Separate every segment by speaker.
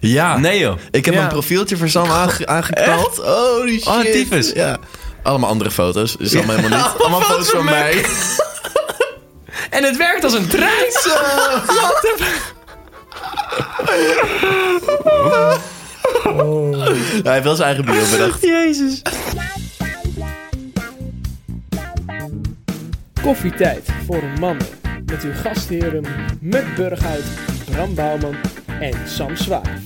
Speaker 1: Ja.
Speaker 2: Nee joh.
Speaker 1: Ik heb
Speaker 3: Ja.
Speaker 1: een profieltje voor Sam aange aangeknald. Holy shit.
Speaker 2: Oh, tyfus.
Speaker 1: Ja. Allemaal andere foto's. Dus allemaal helemaal niet. Allemaal foto's van mij.
Speaker 3: En het werkt als een trein.
Speaker 1: Ja, hij heeft wel zijn eigen bureau bedacht.
Speaker 3: Jezus. Koffietijd voor mannen. Met uw gastheren Muk Burghuis, Bram Bouwman en Sam Zwaar.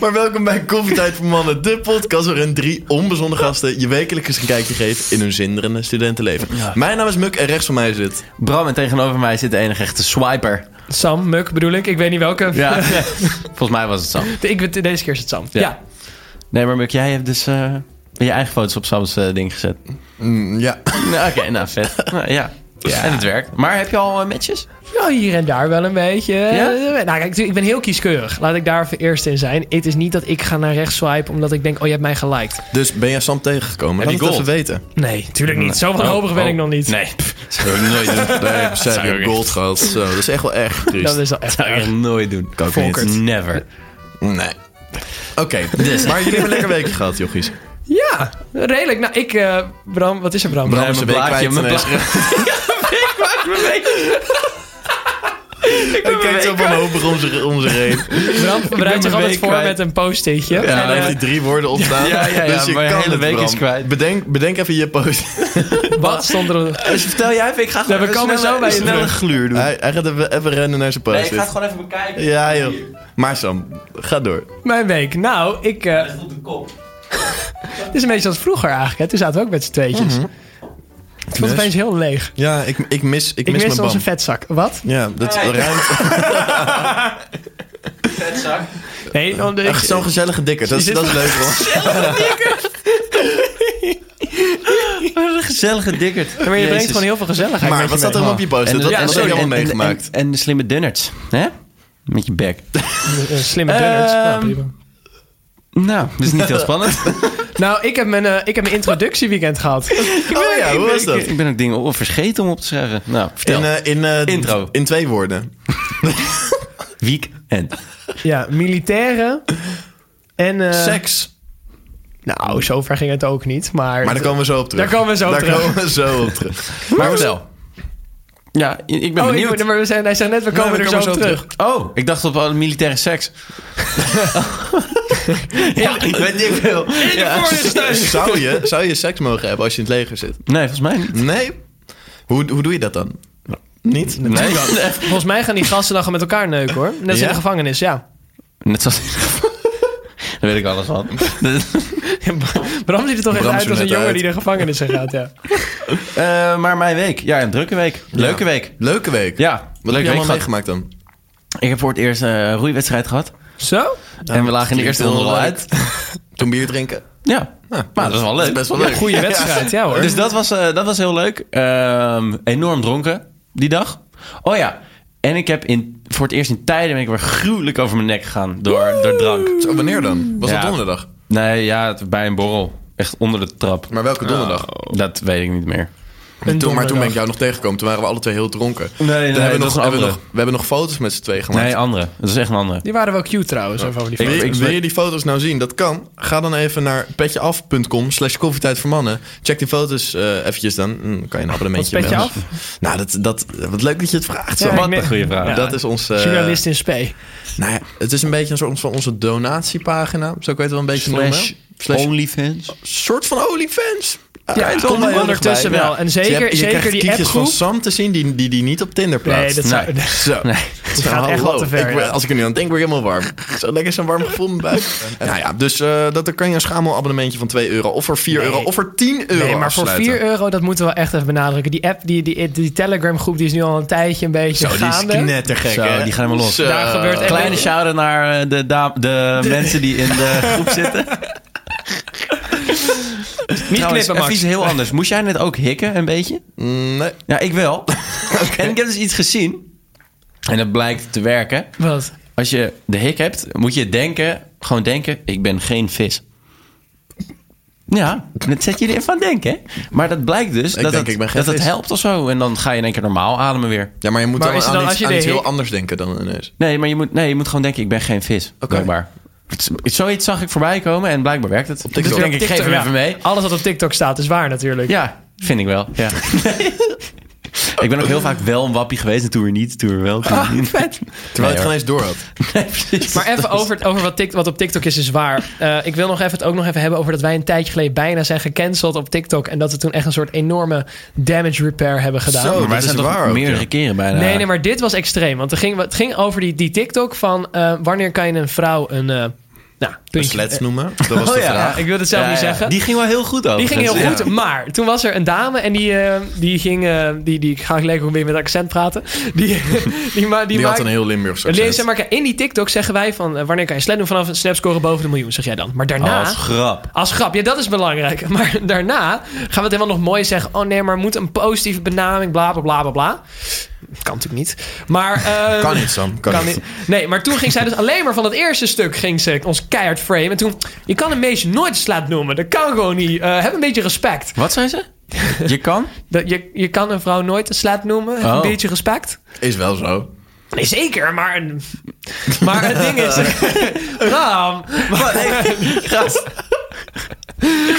Speaker 1: Maar welkom bij Koffietijd voor Mannen, de podcast waarin drie onbezonnen gasten je wekelijks een kijkje geven in hun zinderende studentenleven. Mijn naam is Muk en rechts van mij zit.
Speaker 2: Bram en tegenover mij zit de enige echte swiper.
Speaker 3: Sam, Muk bedoel ik. Ik weet niet welke.
Speaker 2: Ja. Volgens mij was het Sam.
Speaker 3: ik, deze keer is het Sam. Ja.
Speaker 2: Ja. Nee, maar Muk, jij hebt dus eh, je eigen foto's op Sam's eh, ding gezet.
Speaker 1: Mm, ja.
Speaker 2: Nou, Oké, nou vet. Nou, ja. En het werkt. Maar heb je al eh, matches?
Speaker 3: Nou, hier en daar wel een beetje.
Speaker 2: Ja?
Speaker 3: Nou, kijk, ik ben heel kieskeurig. Laat ik daar even eerst in zijn. Het is niet dat ik ga naar rechts swipen omdat ik denk, oh, je hebt mij geliked.
Speaker 1: Dus ben jij Sam tegengekomen?
Speaker 2: Heb
Speaker 1: Laat
Speaker 2: je
Speaker 1: het even
Speaker 2: gold?
Speaker 1: weten.
Speaker 3: Nee, tuurlijk niet. Zo
Speaker 2: Oh,
Speaker 3: wanhopig ben
Speaker 2: oh.
Speaker 3: ik nog niet.
Speaker 2: Nee, pff,
Speaker 1: Zou ik nooit doen. Nee, ze
Speaker 2: Zou
Speaker 1: hebben
Speaker 2: ik
Speaker 1: gold gehad. Zo, dat is echt wel erg.
Speaker 3: Dat is wel echt
Speaker 2: zou ik echt
Speaker 3: erg.
Speaker 2: nooit doen.
Speaker 1: Kan ik
Speaker 3: Volkert.
Speaker 1: niet.
Speaker 2: Never.
Speaker 1: Nee. Oké, dus. maar jullie hebben een lekker weekje gehad, jochies.
Speaker 3: Ja, redelijk. Nou, ik... eh, Bram, wat is er, Bram?
Speaker 1: Bram
Speaker 2: Nee,
Speaker 1: is een
Speaker 2: mijn
Speaker 1: week
Speaker 2: blaadje,
Speaker 1: kwijt.
Speaker 2: mijn
Speaker 1: ineens. Hij kijkt zo wanhopig om zich, om zich heen.
Speaker 3: Bram bereidt zich
Speaker 2: mijn
Speaker 3: altijd
Speaker 2: week
Speaker 3: voor
Speaker 2: kwijt.
Speaker 3: met een post-itje.
Speaker 1: Ja,
Speaker 3: En,
Speaker 1: dan heeft
Speaker 3: eh,
Speaker 1: hij drie woorden opstaan.
Speaker 2: Ja, ja, ja,
Speaker 1: dus je
Speaker 2: maar je
Speaker 1: kan
Speaker 2: hele
Speaker 1: het,
Speaker 2: week
Speaker 1: Bram.
Speaker 2: is kwijt.
Speaker 1: Bedenk, bedenk even je post.
Speaker 3: wat stond er...
Speaker 2: Dus vertel jij even, ik ga gewoon
Speaker 3: we
Speaker 2: even
Speaker 3: komen
Speaker 2: snelle-
Speaker 3: zo bij je
Speaker 2: snelle
Speaker 3: terug.
Speaker 2: gluur doen.
Speaker 1: Hij, hij gaat even, even rennen naar zijn post.
Speaker 2: Nee, ik ga het gewoon even bekijken.
Speaker 1: Ja, joh. Maar Sam, ga door.
Speaker 3: Mijn week. Nou, ik... eh,
Speaker 2: Op de kop.
Speaker 3: het is een beetje als vroeger eigenlijk. Hè. Toen zaten we ook met z'n tweetjes.
Speaker 1: Mhm.
Speaker 3: Het voelt
Speaker 1: Dus?
Speaker 3: opeens heel leeg.
Speaker 1: Ja, ik, ik mis, ik
Speaker 3: Ik
Speaker 1: mis
Speaker 3: miste
Speaker 1: mijn
Speaker 3: onze
Speaker 1: bam.
Speaker 3: vetzak. Wat?
Speaker 1: Ja, dat
Speaker 2: Hey.
Speaker 1: ruimt.
Speaker 2: Vetzak.
Speaker 3: Nee,
Speaker 1: oh,
Speaker 3: want ik-
Speaker 1: Echt zo'n gezellige dikker. Dat is,
Speaker 3: Is dit
Speaker 1: dat is leuk, hoor.
Speaker 2: Een gezellige dikkerd.
Speaker 3: maar je brengt gewoon heel veel gezelligheid
Speaker 1: Maar
Speaker 3: met
Speaker 1: wat
Speaker 3: je
Speaker 1: staat er
Speaker 3: mee.
Speaker 1: allemaal op je post? Dat, dat heb ik allemaal meegemaakt.
Speaker 2: En, en de slimme dunnerts. Hè? Met je bek.
Speaker 3: Eh, Slimme donuts.
Speaker 2: Ehm,
Speaker 3: nou, prima.
Speaker 2: Nou, dat is niet heel spannend.
Speaker 3: Nou, ik heb mijn, eh, ik heb mijn introductieweekend gehad.
Speaker 1: Oh ja, hoe was dat?
Speaker 2: Ik ben ook dingen oh, verscheten om op te schrijven. Nou,
Speaker 1: In,
Speaker 2: vertel.
Speaker 1: eh, in, eh,
Speaker 2: Intro.
Speaker 1: in twee woorden.
Speaker 2: Weekend.
Speaker 3: Ja, militairen en... eh,
Speaker 1: Seks.
Speaker 3: Nou, zover ging het ook niet, maar...
Speaker 1: Maar daar komen we zo op terug.
Speaker 3: Daar komen we zo op terug.
Speaker 1: Daar komen we zo op terug.
Speaker 2: Maar vertel. Ja, i- ik ben
Speaker 3: Oh,
Speaker 2: benieuwd.
Speaker 3: ik- maar we zijn, hij zei net, we komen
Speaker 1: Nou, we
Speaker 3: er zo,
Speaker 1: komen
Speaker 3: op
Speaker 1: zo
Speaker 3: terug.
Speaker 2: Oh, ik dacht op eh, militaire seks. ja, ik weet niet veel. Ja.
Speaker 1: Zou je, zou je seks mogen hebben als je in het leger zit?
Speaker 2: Nee, volgens mij niet.
Speaker 1: Nee. Hoe, hoe doe je dat dan? Niet?
Speaker 2: Nee.
Speaker 3: Volgens mij gaan die gasten dan gewoon met elkaar neuken, hoor. Net als
Speaker 1: Ja?
Speaker 3: in de gevangenis, ja.
Speaker 2: Net zoals... Daar weet ik alles van.
Speaker 3: Bram ziet er toch echt
Speaker 1: Bram
Speaker 3: uit
Speaker 1: ziet er
Speaker 3: als een
Speaker 1: net
Speaker 3: jongen
Speaker 1: uit.
Speaker 3: die de gevangenis in gaat, ja.
Speaker 2: Eh, maar mijn week. Ja, een drukke week. Leuke week.
Speaker 1: Leuke week.
Speaker 2: Ja,
Speaker 1: Wat heb
Speaker 2: leuke
Speaker 1: je allemaal
Speaker 2: week gehad.
Speaker 1: meegemaakt dan?
Speaker 2: Ik heb voor het eerst eh, een roeiwedstrijd gehad.
Speaker 3: Zo?
Speaker 2: en we lagen in
Speaker 1: klinkt
Speaker 2: de eerste ronde
Speaker 1: heel
Speaker 2: al
Speaker 1: leuk.
Speaker 2: uit.
Speaker 1: Toen bier drinken?
Speaker 2: Ja, maar dat is wel leuk.
Speaker 1: Dat is best wel leuk.
Speaker 3: Goeie wedstrijd, ja hoor.
Speaker 2: Dus dat was, eh, dat was heel leuk. Ehm, enorm dronken die dag. Oh ja, en ik heb in, voor het eerst in tijden ben ik weer gruwelijk over mijn nek gegaan door, door drank.
Speaker 1: Zo, wanneer dan? Was dat
Speaker 2: Ja.
Speaker 1: donderdag?
Speaker 2: Nee, ja, het- bij een borrel. Echt onder de trap. Oh.
Speaker 1: Maar welke donderdag?
Speaker 2: Dat weet ik niet meer.
Speaker 3: Een
Speaker 1: Toen, maar toen ben ik
Speaker 3: donderdag.
Speaker 1: jou nog tegengekomen. Toen waren we alle twee heel dronken.
Speaker 2: Nee, nee,
Speaker 1: Toen hebben we,
Speaker 2: dat
Speaker 1: nog,
Speaker 2: is een
Speaker 1: hebben we, nog,
Speaker 2: andere.
Speaker 1: we hebben nog foto's met z'n twee gemaakt.
Speaker 2: Nee, andere. Dat is echt een andere.
Speaker 3: Die waren wel cute trouwens, over die
Speaker 2: Ik-
Speaker 3: foto.
Speaker 1: wil,
Speaker 2: ik-
Speaker 1: wil je die foto's nou zien? Dat kan. Ga dan even naar petjeaf.com slash koffietijd voor mannen. Check die foto's eh, eventjes dan. Hm, Dan kan je een abonnementje
Speaker 3: Wat is Petje
Speaker 1: nemen. Nou, dat, dat, wat leuk dat je het vraagt. Zo.
Speaker 3: Ja, ik
Speaker 2: Wat
Speaker 3: merk-
Speaker 2: een goede vraag.
Speaker 3: Ja.
Speaker 1: dat is ons... eh,
Speaker 3: Journalist in spe.
Speaker 1: Nou ja, het is een beetje een soort van onze donatiepagina. Zo kan je het wel een beetje noemen. Slash
Speaker 2: OnlyFans.
Speaker 1: soort van OnlyFans. Eh,
Speaker 2: Ja,
Speaker 1: Kom
Speaker 2: het komt
Speaker 1: maar
Speaker 2: wel
Speaker 1: heel
Speaker 2: ondertussen
Speaker 1: dichtbij.
Speaker 2: wel.
Speaker 3: En
Speaker 1: Dus Je
Speaker 3: zeker,
Speaker 1: hebt- je
Speaker 3: zeker
Speaker 1: krijgt
Speaker 3: die
Speaker 1: kiekjes
Speaker 3: appgroep.
Speaker 1: van Sam te zien die, die, die niet op Tinder plaatst.
Speaker 3: Nee, dat zou,
Speaker 2: Nee.
Speaker 1: Zo.
Speaker 2: Nee.
Speaker 1: Het
Speaker 3: gaat echt wel te ver, ja.
Speaker 1: als ik er nu aan denk, word ik helemaal warm. Zo lekker zo'n warm gevoel in mijn buik. Nou ja, dus eh, dat, dan kan je een schamelabonnementje van 2 euro... of voor 4
Speaker 3: Nee.
Speaker 1: euro of voor 10 euro
Speaker 3: Nee, maar voor
Speaker 1: afsluiten.
Speaker 3: 4 euro, dat moeten we wel echt even benadrukken. Die app, die, die, die Telegram groep, die is nu al een tijdje een beetje
Speaker 1: Zo, die is
Speaker 3: gaande.
Speaker 1: knettergek,
Speaker 2: Zo,
Speaker 1: hè?
Speaker 2: die gaan helemaal los.
Speaker 1: Zo.
Speaker 3: Daar gebeurt echt-
Speaker 2: Kleine shout-out naar eh, de, da- de mensen die in de groep zitten.
Speaker 3: Niet
Speaker 2: Trouwens,
Speaker 3: knippen,
Speaker 2: even
Speaker 3: Max.
Speaker 2: iets heel anders. Moest jij net ook hikken, een beetje?
Speaker 1: Mm, Nee.
Speaker 2: Ja, ik wel. En ik heb dus iets gezien. En dat blijkt te werken.
Speaker 3: Wat?
Speaker 2: Als je de hik hebt, moet je denken... Gewoon denken, ik ben geen vis. Ja, dat zet je er even aan denken, hè? Maar dat blijkt dus dat,
Speaker 1: denk,
Speaker 2: het,
Speaker 1: ik ben geen
Speaker 2: dat het
Speaker 1: vis.
Speaker 2: helpt of zo. En dan ga je in één keer normaal ademen weer.
Speaker 1: Ja, maar je moet
Speaker 3: Maar
Speaker 1: dan,
Speaker 3: is het
Speaker 1: aan,
Speaker 3: dan
Speaker 1: iets,
Speaker 3: als je
Speaker 1: aan
Speaker 3: de
Speaker 1: iets heel
Speaker 3: hik-
Speaker 1: anders denken dan ineens.
Speaker 2: Nee, maar je moet, nee, je moet gewoon denken, ik ben geen vis.
Speaker 1: Oké.
Speaker 2: Blijkbaar. Het is- Zoiets zag ik voorbij komen en blijkbaar werkt het.
Speaker 1: TikTok.
Speaker 2: Dus ik denk, ik geef hem
Speaker 3: ja.
Speaker 2: even mee.
Speaker 3: Alles wat op TikTok staat is waar natuurlijk.
Speaker 2: Ja, vind ik wel. Ja. ik ben ook heel vaak wel een wappie geweest en toen weer niet, toen weer wel, toen weer niet.
Speaker 3: Ah, Vet.
Speaker 1: Terwijl je het
Speaker 2: Nee,
Speaker 1: gewoon eens door had.
Speaker 2: Nee, precies.
Speaker 3: Maar even over, het, over wat, Tik- wat op TikTok is, is waar. Eh, ik wil nog even het ook nog even hebben over dat wij een tijdje geleden bijna zijn gecanceld op TikTok. En dat we toen echt een soort enorme damage repair hebben gedaan.
Speaker 1: Zo. Oh,
Speaker 2: maar wij
Speaker 1: dat
Speaker 2: zijn
Speaker 1: is
Speaker 2: toch
Speaker 1: waar ook,
Speaker 2: meerdere
Speaker 1: ja.
Speaker 2: keren bijna.
Speaker 3: Nee, nee, maar dit was extreem. Want het ging, het ging over die, die TikTok van eh, wanneer kan je een vrouw een... eh nou,
Speaker 1: Een
Speaker 3: puntje-
Speaker 1: slets noemen. Dat
Speaker 3: Oh
Speaker 1: was de vraag.
Speaker 3: ik wil het zelf niet zeggen.
Speaker 2: Die ging wel heel goed over.
Speaker 3: Die ging heel goed, maar toen was er een dame en die, eh, die ging... eh, die, die, ik ga gelijk ook weer met accent praten. Die, die, ma- die,
Speaker 1: Die had
Speaker 3: maakt-
Speaker 1: een heel Limburgs accent.
Speaker 3: Lees- zeg maar, in die TikTok zeggen wij van... eh, wanneer kan je slam doen vanaf een snapscore boven de miljoen, zeg jij dan. Maar daarna...
Speaker 2: Als grap.
Speaker 3: Als grap, ja, dat is belangrijk. Maar daarna gaan we het helemaal nog mooi zeggen. Oh nee, maar moet een positieve benaming, bla bla bla bla bla. Kan natuurlijk niet. Maar. eh,
Speaker 1: Kan niet, Sam. Kan, niet.
Speaker 3: Nee, maar toen ging zij dus alleen maar van het eerste stuk ging ze ons keihard frame. En toen, je kan een meisje nooit slaat noemen. Dat kan gewoon niet. Eh, heb een beetje respect.
Speaker 2: Wat zei ze? Je kan?
Speaker 3: Dat, je, je kan een vrouw nooit een slaat noemen. Heb
Speaker 2: Oh.
Speaker 3: een beetje respect.
Speaker 1: Is wel zo.
Speaker 3: Nee, zeker, maar... Maar het ding is... Bram,
Speaker 2: Wat? Nee, gast.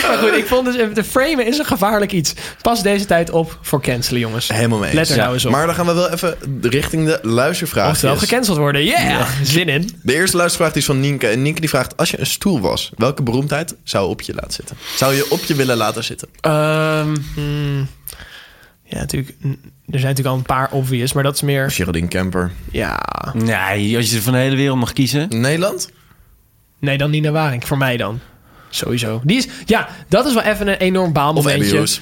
Speaker 3: maar goed, ik vond dus... De framen is een gevaarlijk iets. Pas deze tijd op voor cancelen, jongens.
Speaker 1: Helemaal mee. eens.
Speaker 3: Let er nou eens op.
Speaker 1: Maar dan gaan we wel even richting de
Speaker 3: Oftewel
Speaker 1: luistervraag.
Speaker 3: gecanceld worden. Yeah! Zin in.
Speaker 1: De eerste luistervraag die is van Nienke. En Nienke die vraagt, als je een stoel was, welke beroemdheid zou op je laten zitten? Zou je op je willen laten zitten?
Speaker 3: Ehm, hmm. ja, natuurlijk... mm, Er zijn natuurlijk al een paar obvious, maar dat is meer...
Speaker 1: Geraldine Kemper.
Speaker 3: Ja...
Speaker 2: Nee, als je van de hele wereld mag kiezen.
Speaker 1: Nederland?
Speaker 3: Nee, dan Nina Waring. Voor mij dan. Sowieso. Die is... Ja, dat is wel even een enorm
Speaker 1: Of Abby
Speaker 3: baalmomentje.
Speaker 1: Roos?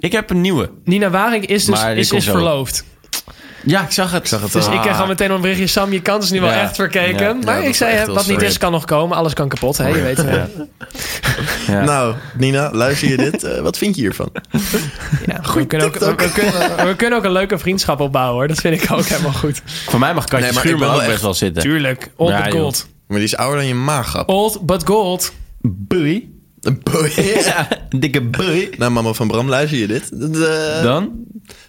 Speaker 2: Ik heb een nieuwe.
Speaker 3: Nina Waring is dus
Speaker 2: Maar die
Speaker 3: is,
Speaker 2: komt
Speaker 3: is
Speaker 2: zo.
Speaker 3: verloofd.
Speaker 2: Ja, ik zag het.
Speaker 1: zag het
Speaker 3: Dus
Speaker 1: Ah.
Speaker 3: ik kreeg al meteen al een berichtje. Sam, je kans is nu wel
Speaker 2: Ja.
Speaker 3: echt verkeken.
Speaker 2: Ja. Ja,
Speaker 3: maar
Speaker 1: dat
Speaker 3: ik
Speaker 1: is
Speaker 3: zei,
Speaker 1: echt
Speaker 3: hè,
Speaker 1: wel
Speaker 3: wat niet
Speaker 1: straight.
Speaker 3: is, kan nog komen. Alles kan kapot, hè? Je weet eh, het.
Speaker 2: Ja. Ja.
Speaker 1: Nou, Nina, luister je dit? Eh, wat vind je hiervan?
Speaker 3: Ja, we, kunnen ook, eh, we,
Speaker 1: TikTok.
Speaker 3: we kunnen, we kunnen ook een leuke vriendschap opbouwen, hoor. Dat vind ik ook helemaal goed.
Speaker 2: Voor mij mag Katje
Speaker 1: Nee, maar ik ben
Speaker 2: Schuurman ook
Speaker 1: wel
Speaker 2: best
Speaker 1: echt-
Speaker 2: wel zitten.
Speaker 3: Tuurlijk. Old
Speaker 2: Ja,
Speaker 3: but
Speaker 2: joh.
Speaker 3: gold.
Speaker 1: Maar die is ouder dan je maaggap.
Speaker 3: Old but gold.
Speaker 2: Boei.
Speaker 1: Een boy.
Speaker 2: Ja, dikke boei.
Speaker 1: Nou, mama van Bram, luister je dit? Dat, eh,
Speaker 2: Dan?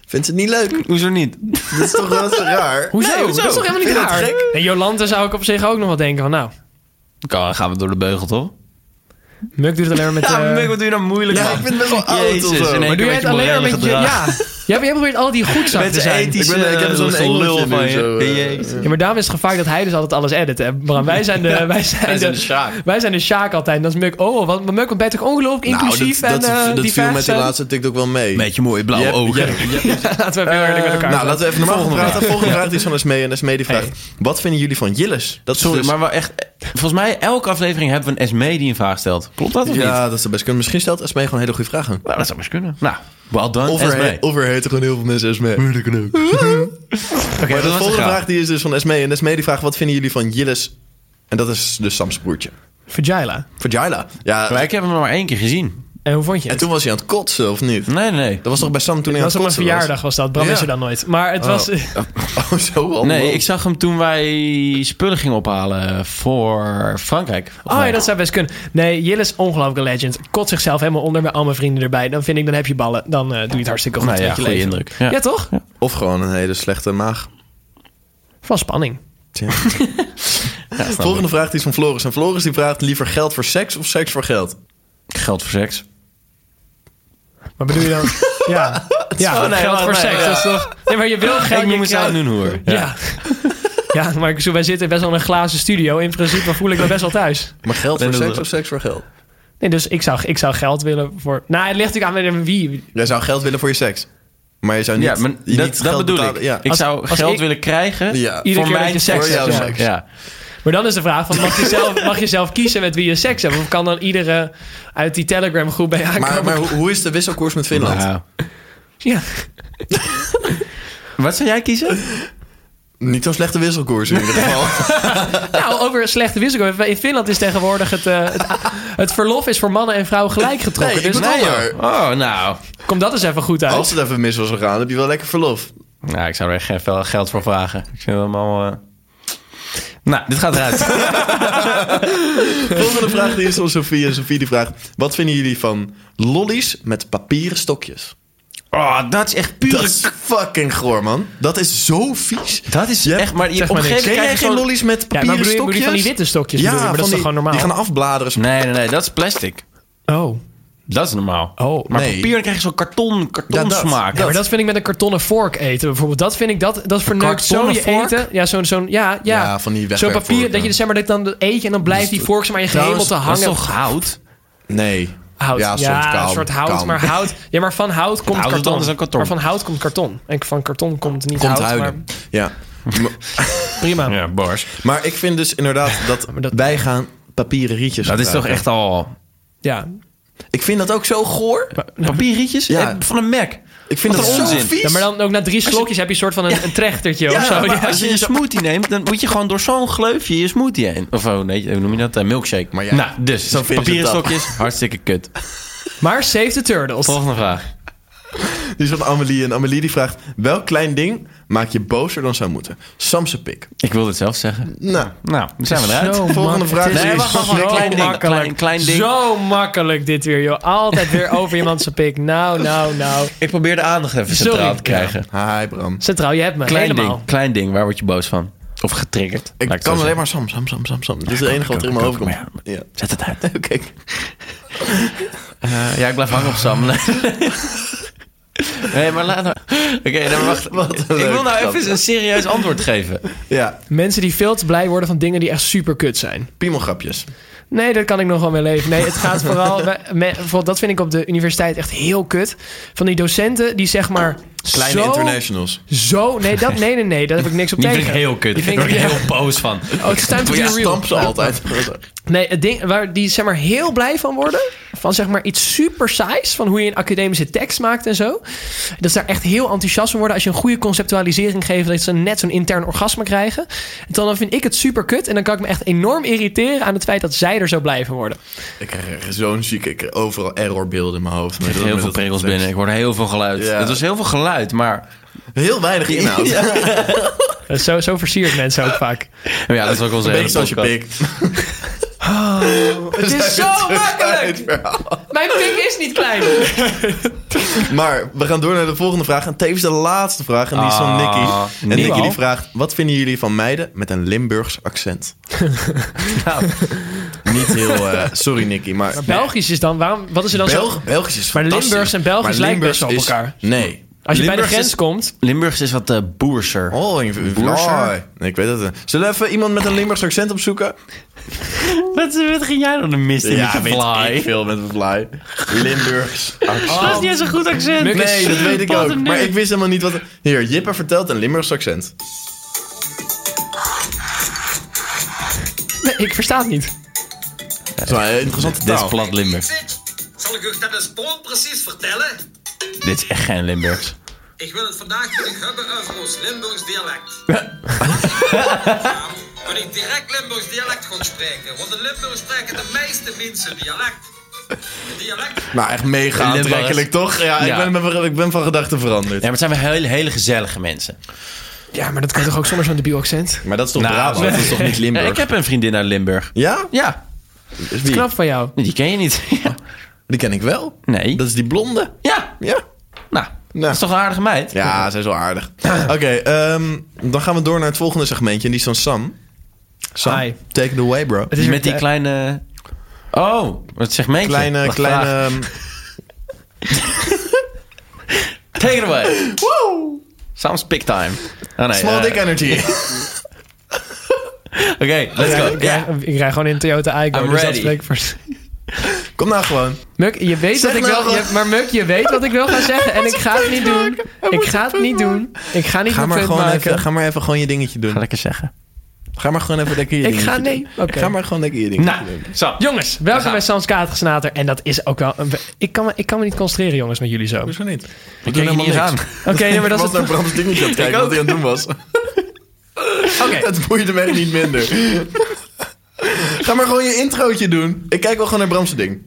Speaker 1: Vindt ze het niet leuk?
Speaker 2: Hoezo niet?
Speaker 1: Dat is toch wel zo raar?
Speaker 3: Hoezo?
Speaker 2: Nee, hoezo?
Speaker 3: Dat is toch helemaal niet
Speaker 1: Vind je dat
Speaker 3: raar?
Speaker 1: gek?
Speaker 3: En Jolante zou ik op zich ook nog wel denken van, nou...
Speaker 2: Dan gaan we door de beugel, toch?
Speaker 3: Muk doet het alleen maar met... eh,
Speaker 2: wat doe je nou moeilijk,
Speaker 1: Ja, ik vind het best wel oud of zo.
Speaker 3: maar doe jij het alleen maar met je... Ja. ja, maar jij probeert al die goed
Speaker 2: Met
Speaker 3: te
Speaker 2: de
Speaker 3: zijn.
Speaker 2: ethische...
Speaker 1: Ik ben- ik heb zo'n
Speaker 2: zo'n
Speaker 1: engeltje
Speaker 2: lul
Speaker 1: nu
Speaker 2: van
Speaker 1: zo,
Speaker 2: je.
Speaker 1: eh,
Speaker 2: Jezus.
Speaker 3: Ja, maar daarom is het gevaar dat hij dus altijd alles edit. Hè? Bram, wij zijn de, wij zijn
Speaker 2: Hij is
Speaker 3: de,
Speaker 2: een schaak.
Speaker 3: wij zijn de Sjaak altijd. En dat is Muk. Oh, wat Muk, wat ben je toch ongelooflijk inclusief
Speaker 1: nou, dat,
Speaker 3: en
Speaker 1: dat,
Speaker 3: eh,
Speaker 1: dat viel
Speaker 3: divers
Speaker 1: met die
Speaker 3: en-
Speaker 1: laatste TikTok wel mee.
Speaker 2: Met je mooie blauwe
Speaker 1: Je hebt-
Speaker 2: ogen.
Speaker 1: je hebt-
Speaker 3: Laten we even heel eerlijk met elkaar
Speaker 1: nou,
Speaker 3: zijn.
Speaker 1: laten we even normaal gaan praten. Volgende vraag die is van Esmee. En Esmee die vraagt,
Speaker 3: Hey.
Speaker 1: wat vinden jullie van Jillis? Dat is
Speaker 2: Sorry,
Speaker 1: dus-
Speaker 2: maar wel echt... Volgens mij, elke aflevering hebben we een SME die een vraag stelt. Klopt dat of niet?
Speaker 1: Ja, dat zou best kunnen. Misschien stelt Esmee gewoon hele goede vragen.
Speaker 2: Nou, dat zou best kunnen. Nou, well done, E.
Speaker 1: Of er,
Speaker 2: SME.
Speaker 1: of er heten gewoon heel veel mensen Esmee. Moeilijk ook.
Speaker 2: Oké,
Speaker 1: maar de
Speaker 2: dat was de
Speaker 1: volgende vraag
Speaker 2: vraag.
Speaker 1: die is dus van Esmee. En Esmee die vraagt, wat vinden jullie van Jillis? En dat is dus Sams broertje.
Speaker 3: Vagila.
Speaker 1: Vagila. Ja,
Speaker 2: Maar ik heb hem maar één keer gezien.
Speaker 3: En hoe vond je
Speaker 1: en
Speaker 3: het?
Speaker 1: toen was hij aan het kotsen, of niet?
Speaker 2: Nee, nee.
Speaker 1: Dat was toch bij Sam toen hij
Speaker 3: dat
Speaker 1: aan
Speaker 3: was
Speaker 1: het
Speaker 3: op mijn
Speaker 1: kotsen
Speaker 3: verjaardag was dat. Bram
Speaker 1: Ja.
Speaker 3: is er dan nooit. Maar het was...
Speaker 1: was? Oh, zo al.
Speaker 2: Nee, ik zag hem toen wij spullen gingen ophalen voor Frankrijk.
Speaker 3: Oh ja, dat zou best kunnen. Nee, Jill is ongelooflijk een legend. Kot zichzelf helemaal onder met al mijn vrienden erbij. Dan vind ik, dan heb je ballen. Dan eh, doe je het hartstikke goed
Speaker 2: Nou ja,
Speaker 3: met je
Speaker 2: goede
Speaker 3: leven.
Speaker 2: indruk.
Speaker 3: Ja,
Speaker 2: Ja.
Speaker 3: toch?
Speaker 1: Of gewoon een hele slechte maag.
Speaker 3: Van spanning.
Speaker 1: Volgende vraag die is van Floris. En Floris die vraagt liever geld voor seks of seks voor geld?
Speaker 2: Geld voor seks.
Speaker 3: Maar bedoel je dan... ja, ja
Speaker 2: Oh, nee,
Speaker 3: geld
Speaker 2: wacht,
Speaker 3: voor
Speaker 2: nee,
Speaker 3: seks.
Speaker 2: ja.
Speaker 3: Dat is toch... Nee, maar je wil geld.
Speaker 2: ik
Speaker 3: je
Speaker 2: moet mezelf
Speaker 3: krijgt-
Speaker 2: nu hoor.
Speaker 3: Ja. ja, maar zo, wij zitten best wel in een glazen studio. In principe voel ik me best wel thuis.
Speaker 1: Maar geld voor
Speaker 2: Nee, dat
Speaker 1: seks
Speaker 2: wel.
Speaker 1: of seks voor geld?
Speaker 3: Nee, dus ik zou, ik zou geld willen voor... Nou, het ligt natuurlijk aan wie.
Speaker 1: Jij zou geld willen voor je seks. Maar je zou niet,
Speaker 2: Ja, maar
Speaker 1: je
Speaker 2: dat,
Speaker 1: niet
Speaker 2: dat
Speaker 1: geld
Speaker 2: bedoel
Speaker 1: betalen-
Speaker 2: ik.
Speaker 1: Ja.
Speaker 2: Ik
Speaker 3: Als-
Speaker 2: zou
Speaker 3: als
Speaker 2: geld
Speaker 3: ik-
Speaker 2: willen krijgen
Speaker 1: Ja.
Speaker 3: Iedere
Speaker 2: voor
Speaker 3: keer dat
Speaker 2: mijn
Speaker 3: je seks
Speaker 2: seks.
Speaker 1: hebt, ja.
Speaker 2: Ja.
Speaker 3: Maar dan is de vraag, van, mag, je zelf, mag je zelf kiezen met wie je seks hebt? Of kan dan iedere uit die Telegram groep bij je
Speaker 1: Maar,
Speaker 3: aankomen?
Speaker 1: maar hoe, hoe is de wisselkoers met Finland?
Speaker 2: Nou.
Speaker 3: Ja.
Speaker 2: Wat zou jij kiezen?
Speaker 1: Niet zo'n slechte wisselkoers in ieder geval.
Speaker 3: Nou, over een slechte wisselkoers. In Finland is tegenwoordig het, eh, het, het verlof is voor mannen en vrouwen gelijk getrokken.
Speaker 1: Nee, ik
Speaker 3: dus
Speaker 1: bedoel-
Speaker 2: Nee, hoor. Oh, nou.
Speaker 3: komt dat eens even goed uit.
Speaker 1: Als het even mis was gegaan, heb je wel lekker verlof.
Speaker 2: Nou, ik zou er echt geen veel geld voor vragen. Ik vind hem al... eh, Nou, dit gaat eruit.
Speaker 1: Volgende vraag die is van Sofie. En Sofie die vraagt, wat vinden jullie van lollies met papieren stokjes?
Speaker 2: oh, dat is echt pure...
Speaker 1: Dat is fucking goor, man. Dat is zo vies.
Speaker 2: Dat is
Speaker 1: Je hebt-
Speaker 2: echt... Maar je,
Speaker 3: Zeg
Speaker 2: op een
Speaker 3: maar niks.
Speaker 1: Ken jij
Speaker 2: gegeven moment krijg je
Speaker 1: geen
Speaker 2: zo'n-
Speaker 1: lollies met
Speaker 3: ja,
Speaker 1: papieren
Speaker 3: maar bedoel je, bedoel je
Speaker 1: stokjes?
Speaker 3: van die witte stokjes?
Speaker 1: ja,
Speaker 3: bedoel je? maar dat
Speaker 1: van
Speaker 3: is toch
Speaker 1: die-
Speaker 3: gewoon normaal?
Speaker 1: Die gaan afbladeren.
Speaker 2: Nee, nee, nee. Dat is plastic.
Speaker 3: Oh.
Speaker 2: Dat is normaal.
Speaker 3: Oh,
Speaker 2: maar
Speaker 1: nee.
Speaker 2: papier dan krijg je zo'n karton,
Speaker 1: Ja, dat.
Speaker 2: kartonsmaak.
Speaker 3: Ja, maar dat vind ik met een kartonnen vork eten bijvoorbeeld. Dat vind ik, dat, dat verneukt zo
Speaker 2: Kartonnen
Speaker 3: je
Speaker 2: vork?
Speaker 3: eten. Ja, zo'n, zo'n, ja, ja.
Speaker 1: Ja, van die
Speaker 3: Zo'n
Speaker 1: wegwerpvork,
Speaker 3: papier, dat
Speaker 1: ja.
Speaker 3: je dus, zeg maar, dat dan eet je en dan blijft die vork zeg maar in je
Speaker 1: Trouwens,
Speaker 3: gehemel te
Speaker 2: Dat is
Speaker 3: hangen.
Speaker 2: toch hout?
Speaker 1: Nee.
Speaker 3: Hout.
Speaker 1: Ja,
Speaker 3: Ja,
Speaker 1: een soort
Speaker 3: een
Speaker 1: kou.
Speaker 3: soort hout.
Speaker 1: Kou.
Speaker 3: Maar hout. Ja, maar van hout komt
Speaker 2: Hout is
Speaker 3: karton.
Speaker 2: anders dan karton.
Speaker 3: Maar van hout komt karton. En van karton komt niet
Speaker 1: Komt
Speaker 3: hout.
Speaker 1: huilen. Ja. Maar-
Speaker 3: Maar prima.
Speaker 2: Ja, bars.
Speaker 1: Maar ik vind dus inderdaad dat,
Speaker 3: dat-
Speaker 1: wij gaan papieren rietjes
Speaker 2: Dat is toch
Speaker 1: gebruiken.
Speaker 2: echt al...
Speaker 3: Ja.
Speaker 1: Ik vind dat ook zo goor.
Speaker 2: Papierietjes?
Speaker 1: Ja.
Speaker 2: Eh, Van een Mac.
Speaker 1: Ik vind
Speaker 2: Wat
Speaker 1: dat
Speaker 2: een
Speaker 1: zo
Speaker 2: onzin.
Speaker 1: vies.
Speaker 3: Ja, maar dan ook na drie slokjes heb je een soort van een, een trechtertje
Speaker 2: Ja,
Speaker 3: of zo.
Speaker 2: maar
Speaker 3: Ja.
Speaker 2: als je een smoothie neemt, dan moet je gewoon door zo'n gleufje je smoothie heen. Of oh, nee, hoe noem je dat? Eh, milkshake.
Speaker 1: Maar ja,
Speaker 2: nou, dus,
Speaker 1: zo vinden ze
Speaker 2: papieren
Speaker 1: het dan.
Speaker 2: stokjes, hartstikke kut.
Speaker 3: Maar save the turtles.
Speaker 2: Volgende vraag.
Speaker 1: Die is van Amelie. En Amelie die vraagt... Welk klein ding maak je bozer dan zou moeten? Samse pik.
Speaker 2: Ik wilde het zelf zeggen.
Speaker 1: Nou,
Speaker 2: Nou, dan zijn we eruit.
Speaker 3: Zo
Speaker 1: Volgende
Speaker 3: makkelijk.
Speaker 1: vraag.
Speaker 3: Oh, Het is
Speaker 1: Nee,
Speaker 2: wacht, wacht, wacht.
Speaker 3: zo
Speaker 2: Klein ding,
Speaker 3: makkelijk.
Speaker 2: klein- klein ding.
Speaker 3: Zo makkelijk dit weer, joh. Altijd weer over iemand zijn pik. Nou, nou, nou.
Speaker 2: Ik probeer de aandacht even
Speaker 3: Sorry.
Speaker 2: centraal te krijgen.
Speaker 1: hi Bram.
Speaker 3: Centraal, je hebt me.
Speaker 2: Klein
Speaker 3: Helemaal.
Speaker 2: ding, klein ding, waar word je boos van? Of getriggerd?
Speaker 1: Ik
Speaker 2: laat het zo
Speaker 1: kan alleen
Speaker 2: zeggen.
Speaker 1: maar Sam, Sam, Sam, Sam, Sam. Dit is het enige wat er in mijn
Speaker 2: kan
Speaker 1: hoofd
Speaker 2: ook,
Speaker 1: komt.
Speaker 2: maar
Speaker 1: Ja.
Speaker 2: Zet het uit.
Speaker 1: Oké.
Speaker 2: Eh, ja, ik blijf hangen op Sam. Nee, Nee, maar laat nou- Oké, dan wacht.
Speaker 1: Wat een
Speaker 2: ik wil
Speaker 1: leuk
Speaker 2: nou
Speaker 1: grap.
Speaker 2: even een serieus antwoord geven.
Speaker 1: Ja,
Speaker 3: Mensen die veel te blij worden van dingen die echt super kut zijn.
Speaker 1: piemelgrapjes.
Speaker 3: Nee, dat kan ik nog wel mee leven. Nee, het gaat vooral... bij- me- bijvoorbeeld, dat vind ik op de universiteit echt heel kut. Van die docenten die zeg maar...
Speaker 1: Kleine
Speaker 3: zo,
Speaker 1: internationals.
Speaker 3: Zo... Nee, dat, nee, nee, nee. Daar heb ik niks op
Speaker 2: Die
Speaker 3: tegen.
Speaker 2: vind ik heel kut.
Speaker 3: Die
Speaker 2: Daar
Speaker 3: vind
Speaker 2: word
Speaker 3: ik
Speaker 2: ik
Speaker 3: heel...
Speaker 2: heel boos van.
Speaker 3: Oh, het is time to
Speaker 1: Ja,
Speaker 3: be real.
Speaker 1: stamp ze altijd.
Speaker 3: Nee, het ding waar die zeg maar heel blij van worden. Van zeg maar iets super saais. Van hoe je een academische tekst maakt en zo. Dat ze daar echt heel enthousiast van worden. Als je een goede conceptualisering geeft. Dat ze net zo'n intern orgasme krijgen. En dan vind ik het super kut. En dan kan ik me echt enorm irriteren aan het feit dat zij er zo blij van worden.
Speaker 1: Ik krijg er zo'n ziek... Ik krijg overal errorbeelden in mijn hoofd.
Speaker 2: Ik krijg heel veel prikkels binnen. Ik hoor heel veel geluid.
Speaker 1: Ja.
Speaker 2: Het was heel veel geluid, maar...
Speaker 1: Heel weinig inhoud.
Speaker 3: Eh, Zo, zo versiert mensen ook vaak.
Speaker 2: Maar Oh ja, dat is ook onze
Speaker 1: Een beetje
Speaker 2: hele
Speaker 1: zoals je
Speaker 2: podcast.
Speaker 1: pik.
Speaker 3: Oh, Het is zo makkelijk! Mijn pik is niet klein.
Speaker 1: Maar we gaan door naar de volgende vraag. En tevens de laatste vraag. En die is van Nicky.
Speaker 2: Ah,
Speaker 1: En
Speaker 2: Nicky.
Speaker 1: Nicky die vraagt... Wat vinden jullie van meiden met een Limburgs accent?
Speaker 2: Nou.
Speaker 1: Niet heel... eh, sorry Nicky, maar...
Speaker 3: Belgisch is dan, waarom, wat is er dan zo?
Speaker 1: Belg- Belgisch is
Speaker 3: Maar
Speaker 1: fantastisch.
Speaker 3: Limburgs en Belgisch
Speaker 1: Maar
Speaker 3: lijken
Speaker 1: Limburgs
Speaker 3: best wel op
Speaker 1: is-
Speaker 3: elkaar.
Speaker 1: Nee.
Speaker 3: Als je bij de
Speaker 2: Limburgs
Speaker 3: grens
Speaker 2: is-
Speaker 3: komt.
Speaker 2: Limburgs is wat eh boerser.
Speaker 1: Oh, in- in-
Speaker 2: Boerser?
Speaker 1: Nee, ik weet het. niet. Zullen we even iemand met een Limburgs accent opzoeken?
Speaker 2: Wat, wat ging jij dan de mist in met je fly?
Speaker 1: veel met een fly. Limburgs
Speaker 2: Dat is niet eens een goed accent.
Speaker 3: Muk is
Speaker 1: Oh. Nee, dat weet ik
Speaker 2: Wat
Speaker 1: ook.
Speaker 2: een
Speaker 1: Maar
Speaker 2: nerd.
Speaker 1: ik wist helemaal niet wat... Hier, Jippe vertelt een Limburgs accent.
Speaker 3: Nee, ik versta het niet.
Speaker 1: Dat is wel een interessante
Speaker 2: Dit is
Speaker 1: taal.
Speaker 2: plat Limburgs.
Speaker 4: Zit, zal ik u het eens precies vertellen?
Speaker 2: Dit is echt geen Limburgs.
Speaker 4: Ik wil het vandaag met u hebben over ons Limburgs dialect. Kun ik direct Limburgs dialect gaan spreken? Want in Limburg spreken de meeste mensen dialect. Een dialect
Speaker 1: Nou, echt mega
Speaker 2: Limburgs.
Speaker 1: aantrekkelijk, toch? Ja,
Speaker 2: Ja.
Speaker 1: Ik, ben, ben- ik ben van gedachten veranderd.
Speaker 2: Ja, maar het zijn wel hele, hele gezellige mensen.
Speaker 3: Ja, maar dat kan toch ook zonder zo'n debiel accent?
Speaker 1: Maar dat is toch
Speaker 2: Nou,
Speaker 1: Brabant? Dat is toch niet
Speaker 2: Ja,
Speaker 1: Limburg?
Speaker 2: ik heb een vriendin uit Limburg.
Speaker 1: Ja?
Speaker 2: Ja,
Speaker 1: Is wie?
Speaker 3: Knap van jou.
Speaker 2: die ken je niet.
Speaker 1: Die ken ik wel.
Speaker 2: nee.
Speaker 1: Dat is die blonde.
Speaker 2: Ja,
Speaker 1: Ja.
Speaker 2: nou, dat is toch een aardige meid?
Speaker 1: Ja, zij is wel aardig. Oké, ehm, dan gaan we door naar het volgende segmentje. En die is van Sam. Sam,
Speaker 3: Hi.
Speaker 1: take it away, bro.
Speaker 3: Het is
Speaker 2: Met die
Speaker 3: eh,
Speaker 2: kleine... Oh, wat segmentje.
Speaker 1: Kleine,
Speaker 2: Wacht,
Speaker 1: kleine...
Speaker 2: vraag.
Speaker 1: ehm,
Speaker 2: Take it away. Woo! Sam's pick time. Oh, nee,
Speaker 1: small
Speaker 2: eh,
Speaker 1: dick energy.
Speaker 2: Oké, let's go.
Speaker 3: Ik, rij, ik rij gewoon in een Toyota Aygo.
Speaker 2: I'm
Speaker 3: dus dat
Speaker 2: ready.
Speaker 3: spreekt voor-
Speaker 1: Kom nou gewoon.
Speaker 3: Muk, je weet
Speaker 1: Zeg
Speaker 3: dat ik
Speaker 1: nou
Speaker 3: wel,
Speaker 1: gewoon.
Speaker 3: je- maar Muk, je weet wat ik wel ga zeggen en ik ga het niet doen. Ik ga het niet doen. Ik ga niet
Speaker 1: Ga
Speaker 3: een
Speaker 1: maar,
Speaker 3: punt
Speaker 1: gewoon
Speaker 3: maken.
Speaker 1: even, ga maar even gewoon je dingetje doen.
Speaker 2: lekker zeggen.
Speaker 1: Ga maar gewoon even lekker je
Speaker 3: Ik
Speaker 1: dingetje
Speaker 3: ga- nee,
Speaker 1: doen.
Speaker 3: oké.
Speaker 1: Ga maar gewoon lekker je dingetje
Speaker 2: Nou,
Speaker 1: doen.
Speaker 2: Sam.
Speaker 3: Jongens,
Speaker 2: gaan
Speaker 3: welkom bij
Speaker 2: we.
Speaker 3: Sans Kaatgesnater. En dat is ook wel... een- Ik kan, me, ik kan me niet concentreren, jongens, met jullie zo. Oké,
Speaker 1: Hoezo niet?
Speaker 2: Ik kijk je niet eens aan.
Speaker 3: nee, maar
Speaker 1: Ik
Speaker 3: dat
Speaker 1: was
Speaker 3: is
Speaker 1: naar
Speaker 3: het...
Speaker 1: Bram's dingetje aan het kijken wat hij aan het doen was.
Speaker 3: Oké.
Speaker 1: Het boeide mij niet minder. Ga maar gewoon je introotje doen. Ik kijk wel gewoon naar Bram's ding.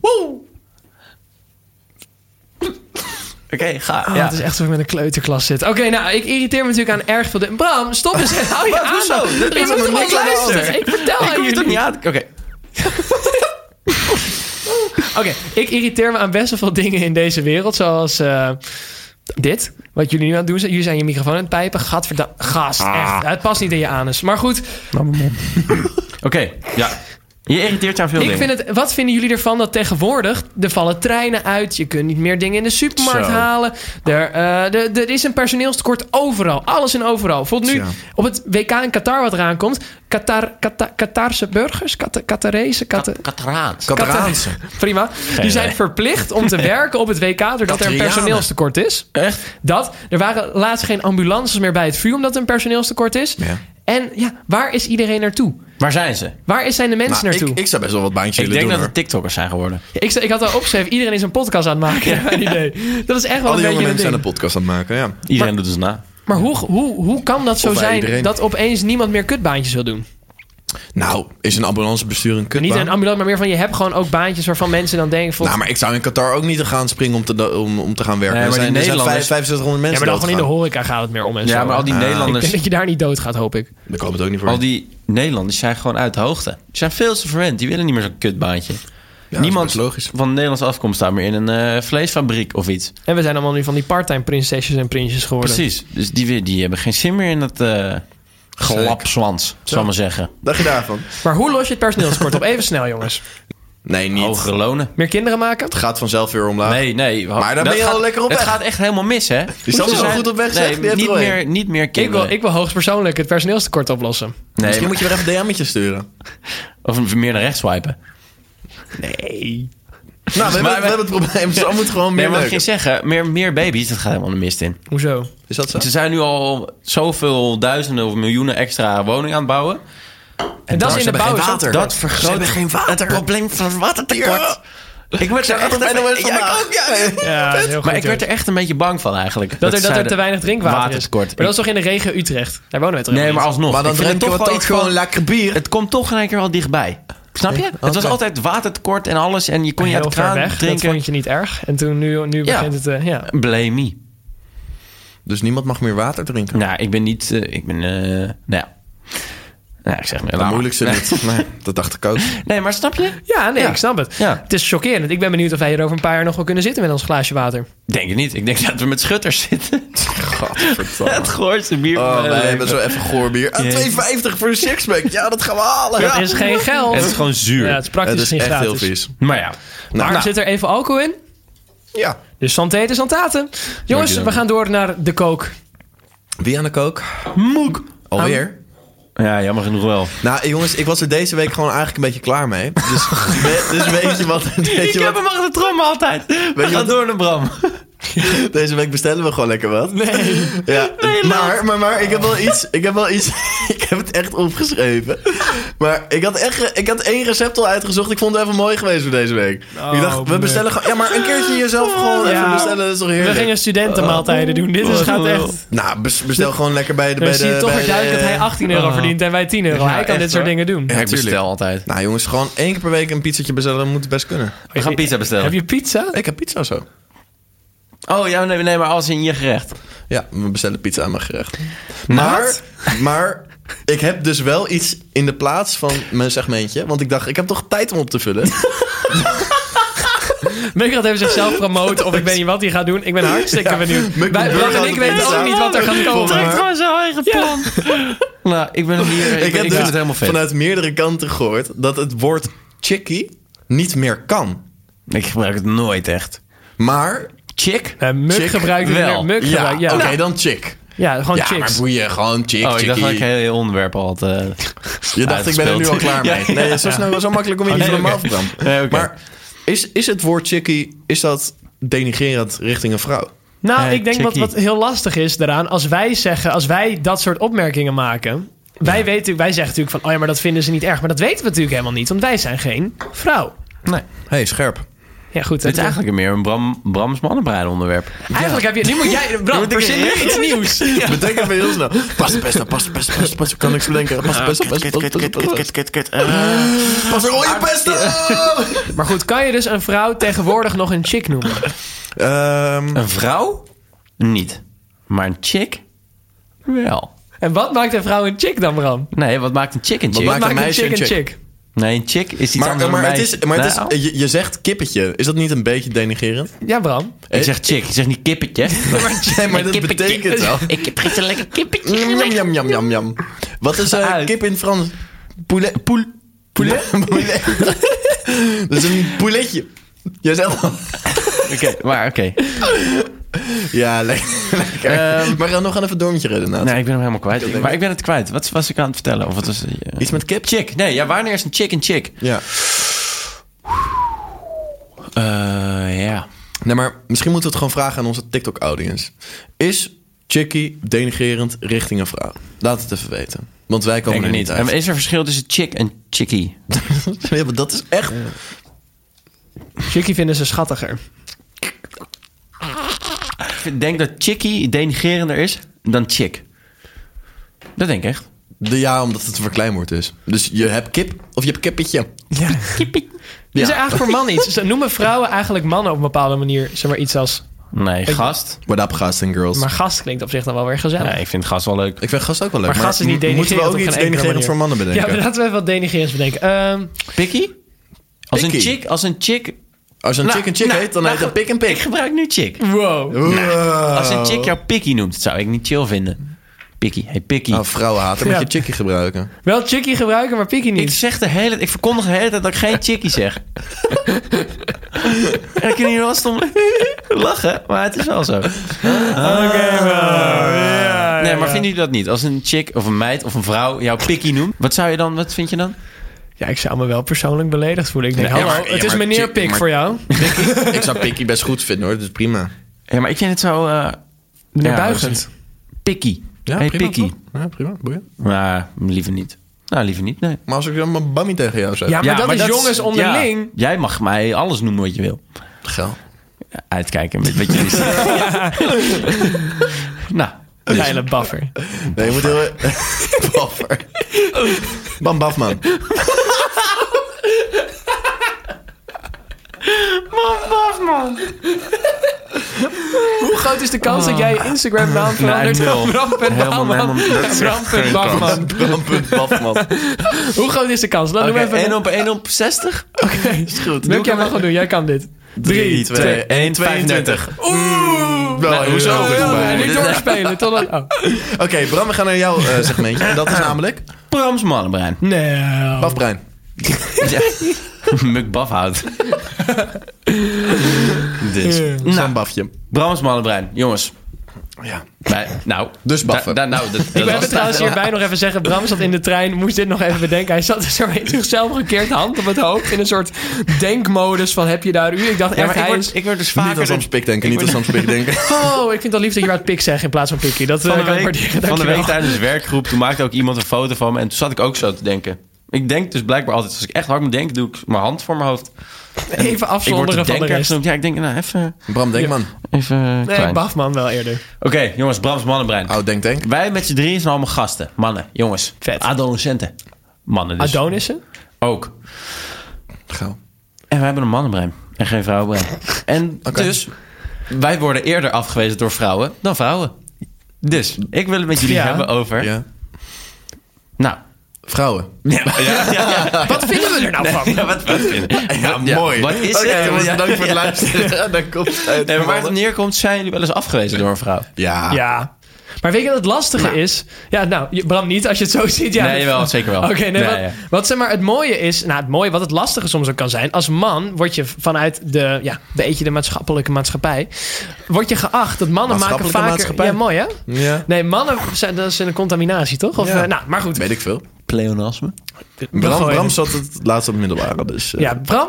Speaker 2: Oké, ga.
Speaker 3: Oh,
Speaker 2: ja.
Speaker 3: Het is echt alsof ik met een kleuterklas zit. Oké, nou, ik irriteer me natuurlijk aan erg veel... dingen. Bram, stop eens. Hou je
Speaker 1: Ah,
Speaker 2: Wat,
Speaker 3: aan.
Speaker 2: Oh, hoezo?
Speaker 3: Je
Speaker 2: Dit is
Speaker 3: moet
Speaker 2: nog
Speaker 3: toch
Speaker 2: niks aan de hand.
Speaker 3: luisteren. Ik vertel
Speaker 2: ik
Speaker 3: aan
Speaker 2: hoef het ook
Speaker 3: jullie.
Speaker 2: niet aan. Oké.
Speaker 3: Oké, ik irriteer me aan best wel veel dingen in deze wereld. Zoals eh, dit, wat jullie nu aan het doen zijn. Jullie zijn je microfoon aan het pijpen. Gadverdamme. Gast, echt. Het past niet in je anus. Maar goed,
Speaker 2: Oké, ja. Je irriteert je aan veel
Speaker 3: ik
Speaker 2: dingen.
Speaker 3: vind het, wat vinden jullie ervan dat tegenwoordig... er vallen treinen uit, je kunt niet meer dingen in de supermarkt
Speaker 2: Zo.
Speaker 3: halen. Er, eh, de- er is een personeelstekort overal. Alles en overal. Bijvoorbeeld nu
Speaker 1: Tja.
Speaker 3: op het WK in Qatar wat eraan komt. Qatar, Qatar, Qatarse burgers, Qatar, Qatarese... Qatar,
Speaker 2: Kataraans.
Speaker 1: Kataraanse.
Speaker 3: Prima. die zijn
Speaker 2: idee.
Speaker 3: verplicht om te werken op het WK doordat er een
Speaker 1: Katrianen.
Speaker 3: personeelstekort is.
Speaker 2: Echt?
Speaker 3: Dat. Er waren laatst geen ambulances meer bij het vuur omdat er een personeelstekort is.
Speaker 1: Ja.
Speaker 3: En ja, waar is iedereen naartoe?
Speaker 2: Waar zijn ze?
Speaker 3: Waar is zijn de mensen
Speaker 1: Nou,
Speaker 3: naartoe?
Speaker 1: ik, ik zou best wel wat baantjes
Speaker 2: Ik
Speaker 1: willen
Speaker 2: denk
Speaker 1: doen
Speaker 2: dat
Speaker 1: hoor.
Speaker 2: het TikTokkers zijn geworden.
Speaker 3: Ja, ik, sta- ik had al opgeschreven, iedereen is een podcast aan het maken. Mijn idee. Dat is echt wel
Speaker 1: Alle jonge
Speaker 3: een beetje
Speaker 1: mensen
Speaker 3: een
Speaker 1: zijn
Speaker 3: ding.
Speaker 1: een podcast aan het maken, ja.
Speaker 2: Iedereen doet dus na.
Speaker 3: Maar hoe, hoe, hoe kan dat zo
Speaker 1: Of wij
Speaker 3: zijn
Speaker 1: iedereen.
Speaker 3: dat opeens niemand meer kutbaantjes wil doen?
Speaker 1: Nou, is een ambulancebestuur een
Speaker 3: Niet
Speaker 1: kutbaan?
Speaker 3: een ambulance, maar meer van je hebt gewoon ook baantjes waarvan mensen dan denken... Van,
Speaker 1: Nou, maar ik zou in Qatar ook niet gaan springen om te, om, om te gaan werken.
Speaker 2: Nee,
Speaker 1: er
Speaker 2: maar
Speaker 1: zijn,
Speaker 2: die
Speaker 1: er zijn
Speaker 2: Nederlanders-
Speaker 1: vijf- 6500
Speaker 3: ja,
Speaker 1: mensen
Speaker 3: maar dan van in de
Speaker 1: doodgegaan.
Speaker 3: horeca gaat het meer om en zo.
Speaker 2: Ja, maar al die
Speaker 3: Ik denk
Speaker 2: Nederlanders...
Speaker 3: dat je daar niet doodgaat, hoop ik.
Speaker 1: Daar komen we het ook niet voor.
Speaker 2: Al die Nederlanders zijn gewoon uit de hoogte. Die zijn veel te verwend. Die willen niet meer zo'n kutbaantje.
Speaker 1: dat is
Speaker 2: Niemand
Speaker 1: best logisch.
Speaker 2: van Nederlandse afkomst staat meer in een eh, vleesfabriek of iets.
Speaker 3: En we zijn allemaal nu van die part-time prinsesjes en prinsjes geworden.
Speaker 2: Precies. Dus die, weer- die hebben geen zin meer in dat eh glapzwans, zal ik maar zeggen.
Speaker 1: Dacht je daarvan?
Speaker 3: Maar hoe los je het personeelskort op? Even snel, jongens.
Speaker 1: Nee, niet.
Speaker 2: Hogere lonen.
Speaker 3: Meer kinderen maken?
Speaker 1: Het gaat vanzelf weer omlaag.
Speaker 2: Nee, nee.
Speaker 1: Maar daar
Speaker 2: dat
Speaker 1: ben je
Speaker 2: gaat-
Speaker 1: al lekker op
Speaker 2: Het
Speaker 1: weg.
Speaker 2: gaat echt helemaal mis, hè? Die
Speaker 1: zat er zo goed op weg, zeg. Die
Speaker 2: Nee,
Speaker 1: heeft
Speaker 2: niet,
Speaker 1: er al
Speaker 2: meer, niet meer
Speaker 3: Ik
Speaker 2: kinderen.
Speaker 3: wil, ik wil hoogstpersoonlijk het personeelstekort oplossen.
Speaker 2: nee,
Speaker 1: Misschien
Speaker 2: maar-
Speaker 1: moet je weer even een DM'tje sturen. Nou,
Speaker 2: Of meer naar rechts swipen.
Speaker 3: Nee.
Speaker 1: Nou, we, hebben, we hebben het probleem. Zo moet gewoon
Speaker 2: Nee,
Speaker 1: meer
Speaker 2: maar wat ik
Speaker 1: leuker.
Speaker 2: ging zeggen, meer, meer baby's, dat gaat helemaal de mist in.
Speaker 3: Hoezo?
Speaker 1: Is dat zo?
Speaker 2: Ze zijn nu al zoveel duizenden of miljoenen extra woningen aan het bouwen.
Speaker 3: En dat is in de bouw. is dat-
Speaker 2: Dat vergroot
Speaker 1: geen
Speaker 2: het probleem van watertekort. Ik werd er echt
Speaker 1: Echt
Speaker 2: even-
Speaker 1: NOS
Speaker 2: Ja, ik
Speaker 1: vandaag.
Speaker 2: ook, ja.
Speaker 3: Ja, dat is heel goed,
Speaker 2: Maar ik
Speaker 3: hoor.
Speaker 2: werd er echt een beetje bang van eigenlijk.
Speaker 3: dat, er, dat er
Speaker 2: zeiden-
Speaker 3: te weinig drinkwater
Speaker 2: watertekort.
Speaker 3: is. Maar dat is toch in de regio Utrecht? Daar wonen we toch
Speaker 2: Nee, maar
Speaker 3: helemaal
Speaker 2: alsnog.
Speaker 1: Maar dan
Speaker 2: ik vind het
Speaker 1: drinken we
Speaker 2: wel
Speaker 1: toch
Speaker 2: iets
Speaker 1: gewoon
Speaker 2: van-
Speaker 1: lekker bier.
Speaker 2: Het komt toch in een keer wel dichtbij. Snap je? Het was
Speaker 1: oké.
Speaker 2: altijd watertekort en alles. En je kon
Speaker 3: niet.
Speaker 2: je uit de
Speaker 3: Heel ver
Speaker 2: kraan
Speaker 3: weg. Dat
Speaker 2: drinken.
Speaker 3: vond je niet erg. En toen nu, nu
Speaker 2: Ja.
Speaker 3: begint het... eh, ja.
Speaker 2: Blame me.
Speaker 1: Dus niemand mag meer water drinken.
Speaker 2: Nou, ik ben niet... eh, ik ben... eh nou ja. Nou, ik zeg maar.
Speaker 1: Dat
Speaker 2: laat
Speaker 1: moeilijkste
Speaker 2: maar.
Speaker 1: niet. Nee, dat dacht ik ook.
Speaker 2: Nee, maar snap je?
Speaker 3: ja, nee,
Speaker 2: Ja.
Speaker 3: ik snap het.
Speaker 2: Ja.
Speaker 3: Het is chockerend. Ik ben benieuwd of wij hier over een paar jaar nog wel kunnen zitten met ons glaasje water.
Speaker 2: Denk het niet. Ik denk dat we met schutters zitten. Het goorste bier van
Speaker 1: Oh,
Speaker 2: mijn
Speaker 1: wij
Speaker 2: leven.
Speaker 1: hebben zo even goorbier. Ah,
Speaker 2: Jee.
Speaker 1: 2,50 voor een sixpack. Ja, dat gaan we halen.
Speaker 3: Dat is geen geld.
Speaker 2: En het is nou, gewoon zuur.
Speaker 3: ja, het is praktisch
Speaker 1: Het is
Speaker 3: niet
Speaker 1: echt
Speaker 3: gratis.
Speaker 1: heel vies. Nou,
Speaker 2: Maar ja.
Speaker 3: Maar zit er even alcohol in?
Speaker 1: Ja.
Speaker 3: Dus santé de santate. Jongens,
Speaker 1: Dankjewel.
Speaker 3: we gaan door naar de kook.
Speaker 1: Wie aan de kook?
Speaker 2: Moek.
Speaker 1: Alweer?
Speaker 2: Ja, jammer genoeg wel.
Speaker 1: Nou, jongens, ik was er deze week gewoon eigenlijk een beetje klaar mee. Dus, we- dus weet je wat? Weet je wat?
Speaker 2: achter de trom altijd. We
Speaker 1: je wat-
Speaker 2: door naar Bram.
Speaker 1: Deze week bestellen we gewoon lekker wat. Nee. Ja, maar, maar, maar ik heb wel iets. Ik heb wel iets. Ik heb het echt opgeschreven. Maar ik had echt. Ik had één recept al uitgezocht. Ik vond het even mooi geweest voor deze week. ik dacht, we
Speaker 3: man.
Speaker 1: bestellen gewoon. Ja, maar een keertje jezelf gewoon
Speaker 3: Oh, Ja.
Speaker 1: even bestellen. Dat is toch
Speaker 3: We
Speaker 1: heerlijk.
Speaker 3: gingen studentenmaaltijden doen. Dit is, gaat echt...
Speaker 1: Nou, bes- bestel gewoon lekker bij de.
Speaker 3: We
Speaker 1: bij
Speaker 3: zien
Speaker 1: de- Oh.
Speaker 3: toch
Speaker 1: bij
Speaker 3: weer duidelijk dat
Speaker 1: de-
Speaker 3: hij 18 euro verdient en wij 10 euro.
Speaker 2: Ja,
Speaker 3: hij kan
Speaker 2: echt,
Speaker 3: dit soort
Speaker 2: hoor.
Speaker 3: dingen doen.
Speaker 2: Ja, ik
Speaker 1: tuurlijk.
Speaker 2: bestel altijd.
Speaker 1: Nou, jongens, gewoon één keer per week een pizzetje bestellen. Dat moet het best kunnen.
Speaker 2: We gaan pizza bestellen.
Speaker 3: Heb je pizza?
Speaker 1: Ik heb pizza zo.
Speaker 2: Oh ja, nee, nee, maar alles in je gerecht.
Speaker 1: Ja, we bestellen pizza aan mijn gerecht. Maar, maar ik heb dus wel iets in de plaats van mijn segmentje. Want ik dacht, ik heb toch tijd om op te vullen.
Speaker 3: Muk gaat even zichzelf promoten of ik weet niet wat hij gaat doen. Ik ben hartstikke benieuwd.
Speaker 1: Muk
Speaker 3: Wij,
Speaker 1: de burger
Speaker 3: Bram en
Speaker 1: aan
Speaker 3: ik
Speaker 1: de
Speaker 3: weten
Speaker 1: pizza.
Speaker 3: ook niet wat er gaat
Speaker 1: Trekt
Speaker 3: komen.
Speaker 2: gewoon zijn eigen plan. nou, ik ben hier. Ik, ben- ik,
Speaker 1: heb dus
Speaker 2: vind het helemaal vet.
Speaker 1: vanuit meerdere kanten gehoord dat het woord chickie niet meer kan.
Speaker 2: Ik gebruik het nooit echt.
Speaker 1: Maar,
Speaker 2: Chick?
Speaker 3: Eh, Muk
Speaker 1: Chick
Speaker 3: gebruikt het weer.
Speaker 2: wel.
Speaker 3: Muk
Speaker 1: ja,
Speaker 3: gebruikt, ja.
Speaker 1: oké, dan chick.
Speaker 3: ja, gewoon
Speaker 1: Ja, maar
Speaker 3: chicks.
Speaker 1: boeien, gewoon chick,
Speaker 2: Oh, ik dacht dat ik
Speaker 1: chickie.
Speaker 2: heel, heel onderwerp al had. eh,
Speaker 1: Je dacht, ik ben er
Speaker 2: uitgespeeld.
Speaker 1: nu al klaar mee.
Speaker 2: Ja, ja.
Speaker 1: Nee, zo, snel, zo makkelijk kom je niet
Speaker 2: nee,
Speaker 1: van me
Speaker 2: oké.
Speaker 1: af, Bram.
Speaker 2: Nee, oké.
Speaker 1: Maar Is, is het woord chickie, is dat denigrerend richting een vrouw?
Speaker 3: Nou,
Speaker 2: Hey,
Speaker 3: ik denk wat,
Speaker 2: chickie.
Speaker 3: wat heel lastig is daaraan, als wij zeggen, als wij dat soort opmerkingen maken. Wij, weten, wij zeggen natuurlijk van, oh ja, maar dat vinden ze niet erg. Maar dat weten we natuurlijk helemaal niet, want wij zijn geen vrouw.
Speaker 2: Nee.
Speaker 1: hey, scherp.
Speaker 3: Ja, goed. eh,
Speaker 2: Het is eigenlijk meer een Bram, Brams mannenbrein onderwerp.
Speaker 3: Eigenlijk heb je... Nu moet jij... Bram, verzin nu iets nieuws.
Speaker 1: Bedenk even heel snel. Pas de beste, pas de beste, pas de beste. Ik kan niks bedenken. Pas de beste, pas de beste, pas de beste, pas de beste.
Speaker 2: Eh.
Speaker 1: Pas de
Speaker 2: Ah,
Speaker 1: rode pesten!
Speaker 3: Maar goed, kan je dus een vrouw tegenwoordig nog een chick noemen?
Speaker 1: Ehm,
Speaker 2: Een vrouw? Niet. Maar een chick? Wel.
Speaker 3: En wat maakt een vrouw een chick dan, Bram?
Speaker 2: Nee, wat maakt een chick een chick?
Speaker 1: maakt
Speaker 3: Wat maakt
Speaker 1: een
Speaker 3: een
Speaker 1: meisje
Speaker 3: chick
Speaker 1: een
Speaker 3: een
Speaker 1: chick?
Speaker 3: chick?
Speaker 2: Nee, een chick is iets
Speaker 1: Maar,
Speaker 2: anders
Speaker 1: maar,
Speaker 2: dan
Speaker 1: het
Speaker 2: een
Speaker 1: is, maar het
Speaker 2: Nou,
Speaker 1: is, je, je zegt kippetje. Is dat niet een beetje denigerend?
Speaker 3: Ja, Bram.
Speaker 2: Ik zeg chick, ik zeg niet kippetje.
Speaker 1: Nee, maar dat betekent wel.
Speaker 2: ik heb gisteren lekker kippetje.
Speaker 1: Jam, jam, jam, jam, jam. Wat is eh,
Speaker 2: Uit.
Speaker 1: kip in het Frans? Poulet. Poul, poulet? Poulet. dat is een pouletje. Jijzelf.
Speaker 2: Oké, maar oké.
Speaker 1: Ja, lekker. lekker. maar dan nog gaan even een dormtje redden. Naad.
Speaker 2: Ehm. Nee, ik ben hem helemaal kwijt. maar ik ben het kwijt. Wat was ik aan het vertellen? Of wat was, eh,
Speaker 1: Iets met kip?
Speaker 2: Chick. Nee, ja, wanneer is een chick een chick?
Speaker 1: Ja.
Speaker 2: Eh, ja.
Speaker 1: Nee, maar misschien moeten we het gewoon vragen aan onze TikTok-audience. Is chickie denigerend richting een vrouw? Laat het even weten. Want wij komen
Speaker 2: Denk ik
Speaker 1: er
Speaker 2: niet.
Speaker 1: niet uit.
Speaker 2: En is er verschil tussen chick en chickie?
Speaker 1: Ja, maar dat is echt...
Speaker 3: Chickie vinden ze schattiger.
Speaker 2: Ik denk dat chickie denigerender is dan chick. Dat denk ik echt.
Speaker 1: De, ja, omdat het een verkleinwoord is. Dus je hebt kip of je hebt kippetje.
Speaker 3: Ja. Is er eigenlijk voor mannen iets? Ze Noemen vrouwen eigenlijk mannen op een bepaalde manier zeg maar iets als...
Speaker 2: Nee, gast.
Speaker 1: What up, guys and girls?
Speaker 3: Maar gast klinkt op zich dan wel weer gezellig.
Speaker 2: Nee, ik vind gast wel leuk.
Speaker 1: Ik vind gast ook wel leuk.
Speaker 3: Maar gast is niet
Speaker 1: m-
Speaker 3: denigrerend
Speaker 1: Moeten we
Speaker 3: op
Speaker 1: ook
Speaker 3: geen
Speaker 1: iets
Speaker 3: enkele
Speaker 1: denigrerends
Speaker 3: manier.
Speaker 1: voor mannen
Speaker 3: Ja,
Speaker 1: bedenken?
Speaker 3: maar laten we even wat denigrerends bedenken. Ehm,
Speaker 2: Pikkie? Als een
Speaker 1: Pikkie?
Speaker 2: chick, als een chick...
Speaker 1: Als een
Speaker 2: Nou,
Speaker 1: chick een chick
Speaker 2: nou,
Speaker 1: heet, dan
Speaker 2: nou,
Speaker 1: heet dat pik en
Speaker 2: Ik
Speaker 1: pik.
Speaker 2: gebruik nu chick.
Speaker 3: wow.
Speaker 1: Wow.
Speaker 2: Als een chick jou pikkie noemt, zou ik niet chill vinden. Pikkie, hey pikkie.
Speaker 1: Oh, vrouwenhater,
Speaker 3: Ja.
Speaker 1: moet je chickie gebruiken.
Speaker 3: Wel chickie gebruiken, maar pikkie
Speaker 2: ik
Speaker 3: niet.
Speaker 2: zeg de hele... Ik verkondig de hele tijd dat ik geen chickie zeg. en dan kunnen jullie wel stom lachen, maar het is wel
Speaker 3: Ah,
Speaker 2: zo. Ah, nee, maar vinden jullie dat niet? Als een chick of een meid of een vrouw jou pikkie noemt, wat zou je dan... Wat vind je dan?
Speaker 3: Ja, ik zou me wel persoonlijk beledigd voelen. Ik denk,
Speaker 2: Nee, ja,
Speaker 3: hallo,
Speaker 1: maar- ja,
Speaker 3: het is
Speaker 1: maar
Speaker 3: meneer
Speaker 1: chick-
Speaker 3: Pik
Speaker 1: maar-
Speaker 3: voor jou.
Speaker 1: ik zou pikkie best goed vinden hoor, dus prima.
Speaker 2: Ja, maar ik vind het zo... eh
Speaker 3: Meneer
Speaker 2: ja,
Speaker 3: Buigend.
Speaker 2: Pikkie. hey pikkie.
Speaker 1: Ja, prima, boeien.
Speaker 2: Maar liever niet. Nou, liever niet, nee.
Speaker 1: Maar als ik dan mijn bammy tegen jou zeg.
Speaker 3: Ja, maar dat is jongens onderling.
Speaker 2: ja, jij mag mij alles noemen wat je wil.
Speaker 1: Geil.
Speaker 2: Uitkijken met wat jullie zeggen. nou, dus.
Speaker 3: Geile buffer.
Speaker 1: Nee, je moet heel... Baffer. Bam Bafman.
Speaker 3: Hoe groot is de kans dat jij je Instagram naam verandert?
Speaker 2: nul. Helemaal,
Speaker 3: Bram.Bouwman.
Speaker 2: helemaal- dat is echt geen
Speaker 3: Bram.Bouwman.
Speaker 1: Bram punt Bafman.
Speaker 3: Hoe groot is de kans? Laat
Speaker 2: Oké,
Speaker 3: okay, even.
Speaker 2: 1 op 1 op 60?
Speaker 3: Oké.
Speaker 1: Is goed.
Speaker 3: Luc, jij mag gewoon doen. Jij kan dit.
Speaker 1: 3, 2, 1, 32.
Speaker 2: 32.
Speaker 1: Oeh! Wel, hoezo?
Speaker 3: Oh, ja,
Speaker 1: Oké,
Speaker 3: niet doorspelen. Totdat... Oh.
Speaker 1: Bram, we gaan naar jouw eh, segmentje. En dat is namelijk...
Speaker 2: Brams mannenbrein.
Speaker 3: Nou.
Speaker 1: Bafbrein.
Speaker 2: Ja. Muk bafhout.
Speaker 1: Dit.
Speaker 3: Ja.
Speaker 1: Zo'n bafje.
Speaker 2: Brams mannenbrein. Jongens.
Speaker 1: Ja.
Speaker 2: Wij, nou.
Speaker 1: Dus baffen.
Speaker 2: da- da- nou, dat, dat
Speaker 3: Ik wil
Speaker 2: was-
Speaker 3: even trouwens hierbij nog even zeggen. Bram zat in de trein, moest dit nog even bedenken. Hij zat zo in zichzelf gekeerd, hand op het hoofd. In een soort denkmodus van heb je daar u? Ik dacht
Speaker 2: Ja,
Speaker 3: echt,
Speaker 2: maar ik
Speaker 3: hij
Speaker 2: word,
Speaker 3: is...
Speaker 2: ik word dus
Speaker 1: Niet aan
Speaker 2: vaker...
Speaker 1: Sam's pik denken, niet aan Sam's pik denken.
Speaker 3: Oh, ik vind het al lief dat je waar het pik zegt in plaats van pikkie. Dat eh,
Speaker 2: van de,
Speaker 3: kan ik
Speaker 2: week,
Speaker 3: waarderen.
Speaker 2: van de
Speaker 3: Dankjewel.
Speaker 2: week tijdens de werkgroep, toen maakte ook iemand een foto van me. En toen zat ik ook zo te denken. Ik denk dus blijkbaar altijd, als ik echt hard moet denken, doe ik mijn hand voor mijn hoofd.
Speaker 3: Even afzonderen
Speaker 2: ik
Speaker 3: van
Speaker 2: word de
Speaker 3: de
Speaker 2: denker
Speaker 3: rest.
Speaker 2: genoemd. Ja, ik denk, nou, even,
Speaker 1: Bram Denkman.
Speaker 2: even
Speaker 3: Nee,
Speaker 2: klein. Dus- Oké,
Speaker 3: Bafman wel eerder.
Speaker 2: jongens, Brams mannenbrein.
Speaker 1: Oud Denk Denk.
Speaker 2: Wij met z'n drieën zijn allemaal gasten. Mannen, jongens.
Speaker 3: Vet.
Speaker 2: Adolescenten. Mannen dus.
Speaker 3: Adonissen?
Speaker 2: ook.
Speaker 1: Gauw.
Speaker 2: En wij hebben een mannenbrein. En geen vrouwenbrein. en dus, wij worden eerder afgewezen door vrouwen dan vrouwen. Dus, ik wil het met jullie
Speaker 3: Ja.
Speaker 2: hebben over...
Speaker 1: Ja.
Speaker 2: Nou,
Speaker 1: Vrouwen.
Speaker 3: Wat vinden we er nou van?
Speaker 2: wat, wat
Speaker 1: Ja,
Speaker 2: mooi. Wat is
Speaker 1: Oké,
Speaker 2: het?
Speaker 1: jongens,
Speaker 2: Ja.
Speaker 1: bedankt voor het luisteren. Dan komt het uit.
Speaker 2: Nee, maar waar het op neerkomt, zijn jullie wel eens afgewezen door een vrouw?
Speaker 1: Ja.
Speaker 2: Ah.
Speaker 3: Ja. Maar weet je wat het lastige is? Ja, nou, je- Bram niet, als je het zo ziet. Ja,
Speaker 2: Nee, wel, zeker wel.
Speaker 3: Oké, nee,
Speaker 2: Nee,
Speaker 3: wat,
Speaker 2: ja.
Speaker 3: wat zeg maar het mooie is... Nou, het mooie, wat het lastige soms ook kan zijn... Als man word je vanuit de, ja, beetje de maatschappelijke maatschappij... Word je geacht dat mannen maken
Speaker 1: Maatschappelijke
Speaker 3: vaker...
Speaker 1: maatschappij.
Speaker 3: Ja, mooi hè?
Speaker 1: Ja.
Speaker 3: Nee, mannen, zijn, dat is een contaminatie, toch? Of,
Speaker 1: Ja.
Speaker 3: eh, nou, maar goed.
Speaker 1: Weet ik veel.
Speaker 2: Pleonasme.
Speaker 3: we
Speaker 1: Bram,
Speaker 3: gooien
Speaker 1: Bram
Speaker 3: het.
Speaker 1: zat het laatst op het middelbare, dus... eh,
Speaker 3: Ja, Bram?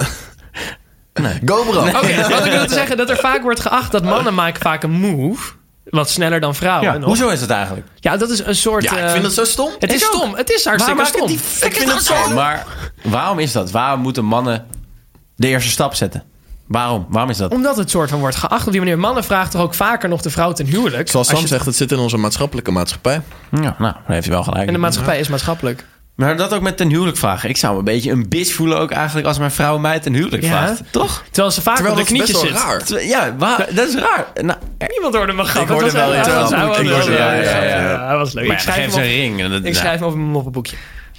Speaker 1: GoBro.
Speaker 3: Oké, wat ik wil zeggen, dat er vaak wordt geacht dat mannen maken vaak een move. Wat sneller dan vrouwen.
Speaker 2: Ja,
Speaker 3: nog.
Speaker 2: hoezo is dat eigenlijk?
Speaker 3: ja dat is een soort...
Speaker 1: Ja, ik
Speaker 3: eh,
Speaker 1: vind dat zo stom.
Speaker 3: Het is stom. Het is hartstikke
Speaker 1: Waarom
Speaker 3: stom.
Speaker 1: maakt het die- Ik vind het zo.
Speaker 2: Maar waarom is dat? Waarom moeten mannen de eerste stap zetten? Waarom? Waarom is dat?
Speaker 3: Omdat het soort van wordt geacht op die manier. Mannen vragen toch ook vaker nog de vrouw ten huwelijk.
Speaker 1: Zoals
Speaker 3: Als
Speaker 1: Sam
Speaker 3: je-
Speaker 1: zegt, het zit in onze maatschappelijke maatschappij.
Speaker 2: Ja, nou, daar heeft hij wel gelijk.
Speaker 3: En de maatschappij is maatschappelijk.
Speaker 2: maar dat ook met ten huwelijk vragen. Ik zou me een beetje een bitch voelen ook eigenlijk als mijn vrouw mij ten huwelijk
Speaker 3: Ja.
Speaker 2: vraagt. Toch?
Speaker 3: Terwijl ze vaak
Speaker 1: Terwijl
Speaker 3: op de
Speaker 1: dat is best
Speaker 3: knietjes
Speaker 1: wel
Speaker 3: zit.
Speaker 1: raar.
Speaker 2: Terwijl- Ja, waar- dat is raar. Nou, eh,
Speaker 3: Niemand hoorde mijn grap.
Speaker 1: Ik hoorde
Speaker 3: Het was
Speaker 1: wel
Speaker 3: heel-
Speaker 1: iets,
Speaker 3: het was-
Speaker 1: ja.
Speaker 3: hij was
Speaker 1: Ik
Speaker 3: wel-
Speaker 1: hoorde-
Speaker 3: ja,
Speaker 1: ja,
Speaker 3: ja,
Speaker 1: ja, ja.
Speaker 3: ja, Hij was leuk. Ik
Speaker 2: maar ja,
Speaker 3: schrijf
Speaker 2: geef
Speaker 3: hem
Speaker 2: ze een
Speaker 3: op-
Speaker 2: ring. en Dat,
Speaker 3: ik
Speaker 2: nou,
Speaker 3: schrijf hem op mijn moppenboekje.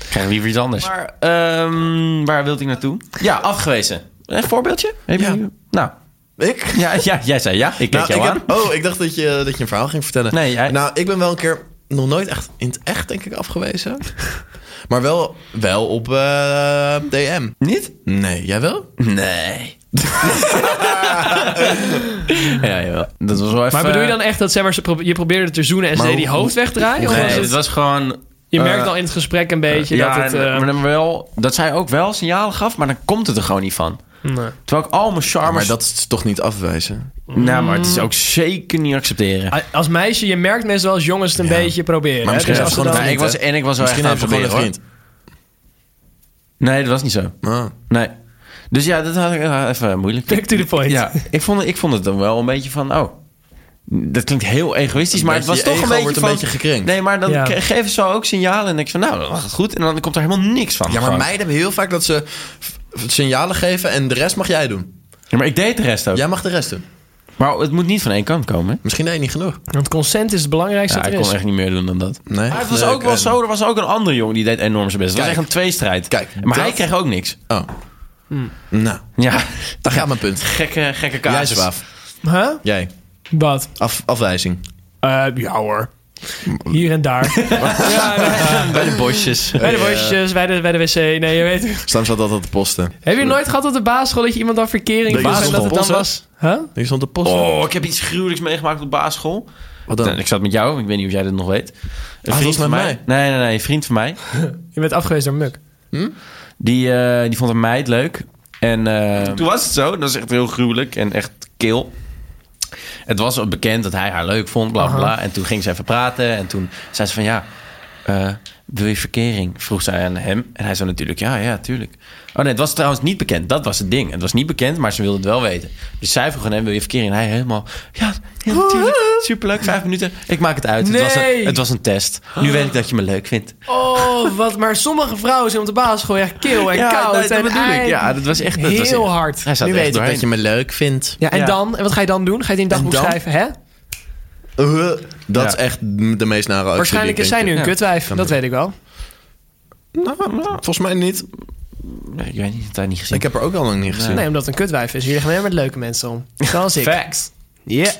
Speaker 2: krijg je liever iets anders. Maar, ehm, waar wilde ik naartoe? Ja, afgewezen. Een voorbeeldje? Heb je-
Speaker 1: Ja.
Speaker 2: Nou,
Speaker 1: Ik?
Speaker 2: ja, ja, jij zei ja. Ik keek
Speaker 1: Nou,
Speaker 2: jou
Speaker 1: ik
Speaker 2: aan.
Speaker 1: heb- oh, ik dacht dat je, dat je een verhaal ging vertellen.
Speaker 2: Nee, jij-
Speaker 1: Nou, ik ben wel een keer nog nooit echt in het echt, denk ik, afgewezen. maar wel, wel op eh, DM.
Speaker 2: Niet?
Speaker 1: Nee, jij wel?
Speaker 2: Nee. ja, jawel. Dat was wel even...
Speaker 3: Maar bedoel je dan echt dat zeg maar, ze probe- je probeerde het te zoenen en ze
Speaker 1: Maar
Speaker 3: deed die
Speaker 1: hoe-
Speaker 3: hoofd wegdraaien? Of was
Speaker 2: Nee,
Speaker 3: het-
Speaker 2: het was gewoon...
Speaker 3: je
Speaker 2: eh,
Speaker 3: merkt al in het gesprek een beetje
Speaker 2: ja,
Speaker 3: dat het...
Speaker 2: en-
Speaker 3: eh,
Speaker 2: maar dan wel, dat zij ook wel signalen gaf, maar dan komt het er gewoon niet van.
Speaker 3: nee.
Speaker 2: Terwijl ik al mijn charme...
Speaker 1: Maar dat is toch niet afwijzen?
Speaker 2: Nou, maar het is ook zeker niet accepteren.
Speaker 3: A- Als meisje, je merkt meestal als jongens het een beetje proberen.
Speaker 1: Maar
Speaker 3: hè?
Speaker 1: misschien
Speaker 3: Dus
Speaker 1: is
Speaker 3: als
Speaker 1: het
Speaker 3: ze
Speaker 1: gewoon
Speaker 2: Nou,
Speaker 3: dan-
Speaker 1: vriend,
Speaker 2: ik was,
Speaker 1: hè?
Speaker 2: en ik was wel
Speaker 1: Misschien
Speaker 2: echt
Speaker 1: heeft ze
Speaker 2: aan
Speaker 1: gewoon een
Speaker 2: het
Speaker 1: vriend.
Speaker 2: proberen, hoor. Nee, dat was niet zo.
Speaker 1: Ah.
Speaker 2: Nee. Dus ja, dat had ik eh, even moeilijk.
Speaker 3: Back to the point.
Speaker 2: Ja, ik vond, ik vond het dan wel een beetje van, oh, dat klinkt heel egoïstisch, maar het was
Speaker 1: Je
Speaker 2: toch een
Speaker 1: ego
Speaker 2: beetje
Speaker 1: wordt een
Speaker 2: van,
Speaker 1: beetje gekrenkt.
Speaker 2: Nee, maar dan
Speaker 3: Ja.
Speaker 2: ge- geven ze ook signalen en ik van, nou, dan gaat het goed. En dan komt er helemaal niks van.
Speaker 1: Ja, maar
Speaker 2: Gewoon.
Speaker 1: meiden hebben heel vaak dat ze f- signalen geven en de rest mag jij doen.
Speaker 2: Ja, maar ik deed de rest ook.
Speaker 1: Jij mag de rest doen.
Speaker 2: Maar het moet niet van één kant komen. hè?
Speaker 1: Misschien deed je niet genoeg.
Speaker 3: Want consent is het belangrijkste
Speaker 2: Ja,
Speaker 3: dat
Speaker 2: ik
Speaker 3: er
Speaker 2: kon
Speaker 3: is.
Speaker 2: echt niet meer doen dan dat.
Speaker 1: Nee,
Speaker 2: Maar het was
Speaker 1: leuk
Speaker 2: ook wel
Speaker 1: en-
Speaker 2: zo, er was ook een andere jongen die deed enorm zijn best. Het was
Speaker 1: Kijk.
Speaker 2: echt een tweestrijd.
Speaker 1: Kijk,
Speaker 2: maar hij
Speaker 1: dat-
Speaker 2: kreeg ook niks.
Speaker 1: Oh.
Speaker 3: Hmm.
Speaker 1: Nou,
Speaker 2: Ja,
Speaker 1: daar gaat mijn punt.
Speaker 2: gekke, gekke
Speaker 1: Jij,
Speaker 2: casus.
Speaker 1: Zwaaf.
Speaker 3: Huh?
Speaker 1: Jij.
Speaker 3: Wat?
Speaker 1: Af, afwijzing.
Speaker 3: Eh, ja hoor. Hier en daar. ja, nee.
Speaker 2: Bij de bosjes.
Speaker 3: Bij de wasjes, bij de, bij de wc. Nee, je weet het.
Speaker 1: Stam zat altijd te posten.
Speaker 3: Heb je nooit gehad op de basisschool dat je iemand dan verkering
Speaker 1: Nee,
Speaker 3: was en dat
Speaker 1: basisschool.
Speaker 3: het dan
Speaker 1: Posten?
Speaker 3: was? Huh?
Speaker 1: Ik stond te posten.
Speaker 2: Oh, ik heb iets gruwelijks meegemaakt op basisschool.
Speaker 1: Wat dan? Ah,
Speaker 2: Ik zat met jou, ik weet niet of jij dat nog weet. Een
Speaker 1: was met
Speaker 2: van
Speaker 1: mij.
Speaker 2: Nee, nee, nee, een vriend van mij.
Speaker 3: Je bent afgewezen door Muk.
Speaker 2: Die, eh, die vond een meid leuk. En eh, toen was het zo. Dat is echt heel gruwelijk en echt kil. Het was al bekend dat hij haar leuk vond, bla bla bla. En toen ging ze even praten. En toen zei ze van ja, eh, wil je verkering? Vroeg zij aan hem. En hij zei natuurlijk ja, ja, tuurlijk. Oh nee, het was trouwens niet bekend. Dat was het ding. Het was niet bekend, maar ze wilde het wel weten. Dus zij vroeg aan hem, wil je verkering? En hij helemaal, ja, ja natuurlijk. Superleuk, vijf minuten. Ik maak het uit. Het, was
Speaker 3: Nee.
Speaker 2: een, het was een test. Nu weet ik dat je me leuk vindt.
Speaker 3: Oh, wat. Maar sommige vrouwen zijn op de basisschool echt kil en koud.
Speaker 2: nee, dat
Speaker 3: en
Speaker 2: bedoel ik.
Speaker 3: ei-
Speaker 2: Ja, dat was echt... dat was
Speaker 3: heel
Speaker 2: echt-
Speaker 3: hard.
Speaker 2: Hij zat
Speaker 1: Nu
Speaker 2: er
Speaker 1: weet
Speaker 2: echt
Speaker 1: ik
Speaker 2: doorheen.
Speaker 1: dat je me leuk vindt.
Speaker 3: Ja, en
Speaker 2: Ja.
Speaker 3: dan? En wat ga je dan doen? Ga je het in een dagboek
Speaker 1: En dan?
Speaker 3: schrijven, hè?
Speaker 1: Uh, dat
Speaker 2: Ja.
Speaker 1: is echt de meest nare actie
Speaker 3: Waarschijnlijk
Speaker 1: die
Speaker 3: is
Speaker 1: ik
Speaker 3: zij nu
Speaker 1: denk
Speaker 3: een
Speaker 2: Ja. Nou,
Speaker 3: kutwijf. Dat weet ik wel.
Speaker 1: heb. Volgens mij niet.
Speaker 2: Nee, Ik weet niet, dat hij niet gezien.
Speaker 1: Ik heb haar ook al lang niet gezien.
Speaker 3: Nee, omdat het een kutwijf is. Jullie gaan weer met leuke mensen om. Zoals ik.
Speaker 2: Facts. Yeah.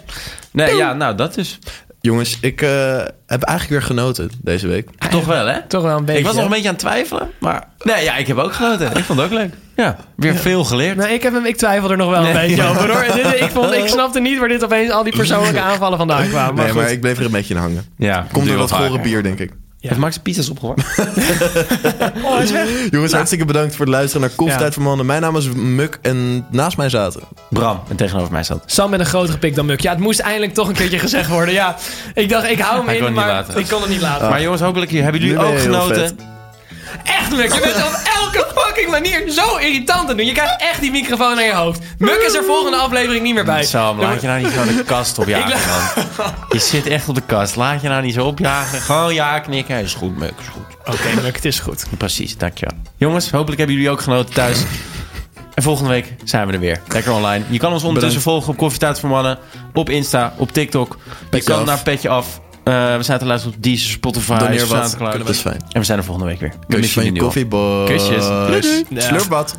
Speaker 2: Nee, ja, nou dat dus.
Speaker 1: Jongens, ik eh, heb eigenlijk weer genoten deze week.
Speaker 3: Nou,
Speaker 2: Toch wel, hè?
Speaker 3: Toch wel een beetje.
Speaker 2: Ik was nog
Speaker 3: hè?
Speaker 2: een beetje aan het twijfelen, maar... Nee, ja, ik heb ook genoten. Ik vond het ook leuk. Ja, weer veel geleerd.
Speaker 3: Nou, ik, heb hem, ik twijfel er nog wel een
Speaker 2: Nee.
Speaker 3: beetje over hoor. Dit- ik, vond, ik snapte niet waar dit opeens al die persoonlijke aanvallen vandaan kwamen. Maar
Speaker 1: nee,
Speaker 3: goed.
Speaker 1: maar ik bleef er een beetje in hangen.
Speaker 2: Ja,
Speaker 1: Komt
Speaker 2: doe
Speaker 1: door dat
Speaker 2: wel
Speaker 1: gore
Speaker 2: vaker.
Speaker 1: bier, denk ik.
Speaker 2: Heeft Max de pizza's opgewarmd?
Speaker 3: Oh,
Speaker 1: Jongens, hartstikke bedankt voor het luisteren naar Koffietijd
Speaker 3: Ja.
Speaker 1: voor Mannen. Mijn naam is Muk en naast mij zaten...
Speaker 2: Bram, en tegenover mij zat.
Speaker 3: Sam met een grotere pik dan Muk. Ja, het moest eindelijk toch een keertje gezegd worden. Ja, ik dacht, ik hou hem
Speaker 2: Hij kon
Speaker 3: in,
Speaker 2: het
Speaker 3: maar
Speaker 2: niet laten.
Speaker 3: ik kon het niet laten.
Speaker 2: Maar jongens, hopelijk hebben jullie
Speaker 1: Nu ben je
Speaker 2: ook
Speaker 1: heel
Speaker 2: genoten.
Speaker 1: vet.
Speaker 2: Ah.
Speaker 3: Echt, Muk, je bent op elke fucking manier zo irritant aan het doen. Je krijgt echt die microfoon naar je hoofd. Muk is er volgende aflevering niet meer bij.
Speaker 2: Sam, laat je nou niet gewoon de kast opjagen, man. Je zit echt op de kast. Laat je nou niet zo opjagen. Gewoon ja knikken. Is goed, Muk, is goed.
Speaker 3: Oké, Muk, het is goed.
Speaker 2: Precies, dankjewel. Jongens, hopelijk hebben jullie ook genoten thuis. En volgende week zijn we er weer. Lekker online. Je kan ons ondertussen volgen op Koffietijd voor Mannen. Op Insta, op TikTok.
Speaker 1: Petje
Speaker 2: je kan
Speaker 1: af.
Speaker 2: naar Petje Af. Eh, we zijn te luisteren op Deezer, Spotify,
Speaker 1: Doneer wat.
Speaker 2: Soundcloud.
Speaker 1: Dat is fijn.
Speaker 2: En we zijn er volgende week weer. We
Speaker 1: Kusjes
Speaker 2: missen
Speaker 1: van je
Speaker 2: jullie nu al.
Speaker 1: koffieboy.
Speaker 2: Kusjes. Doei, doei.
Speaker 1: Slurpbad.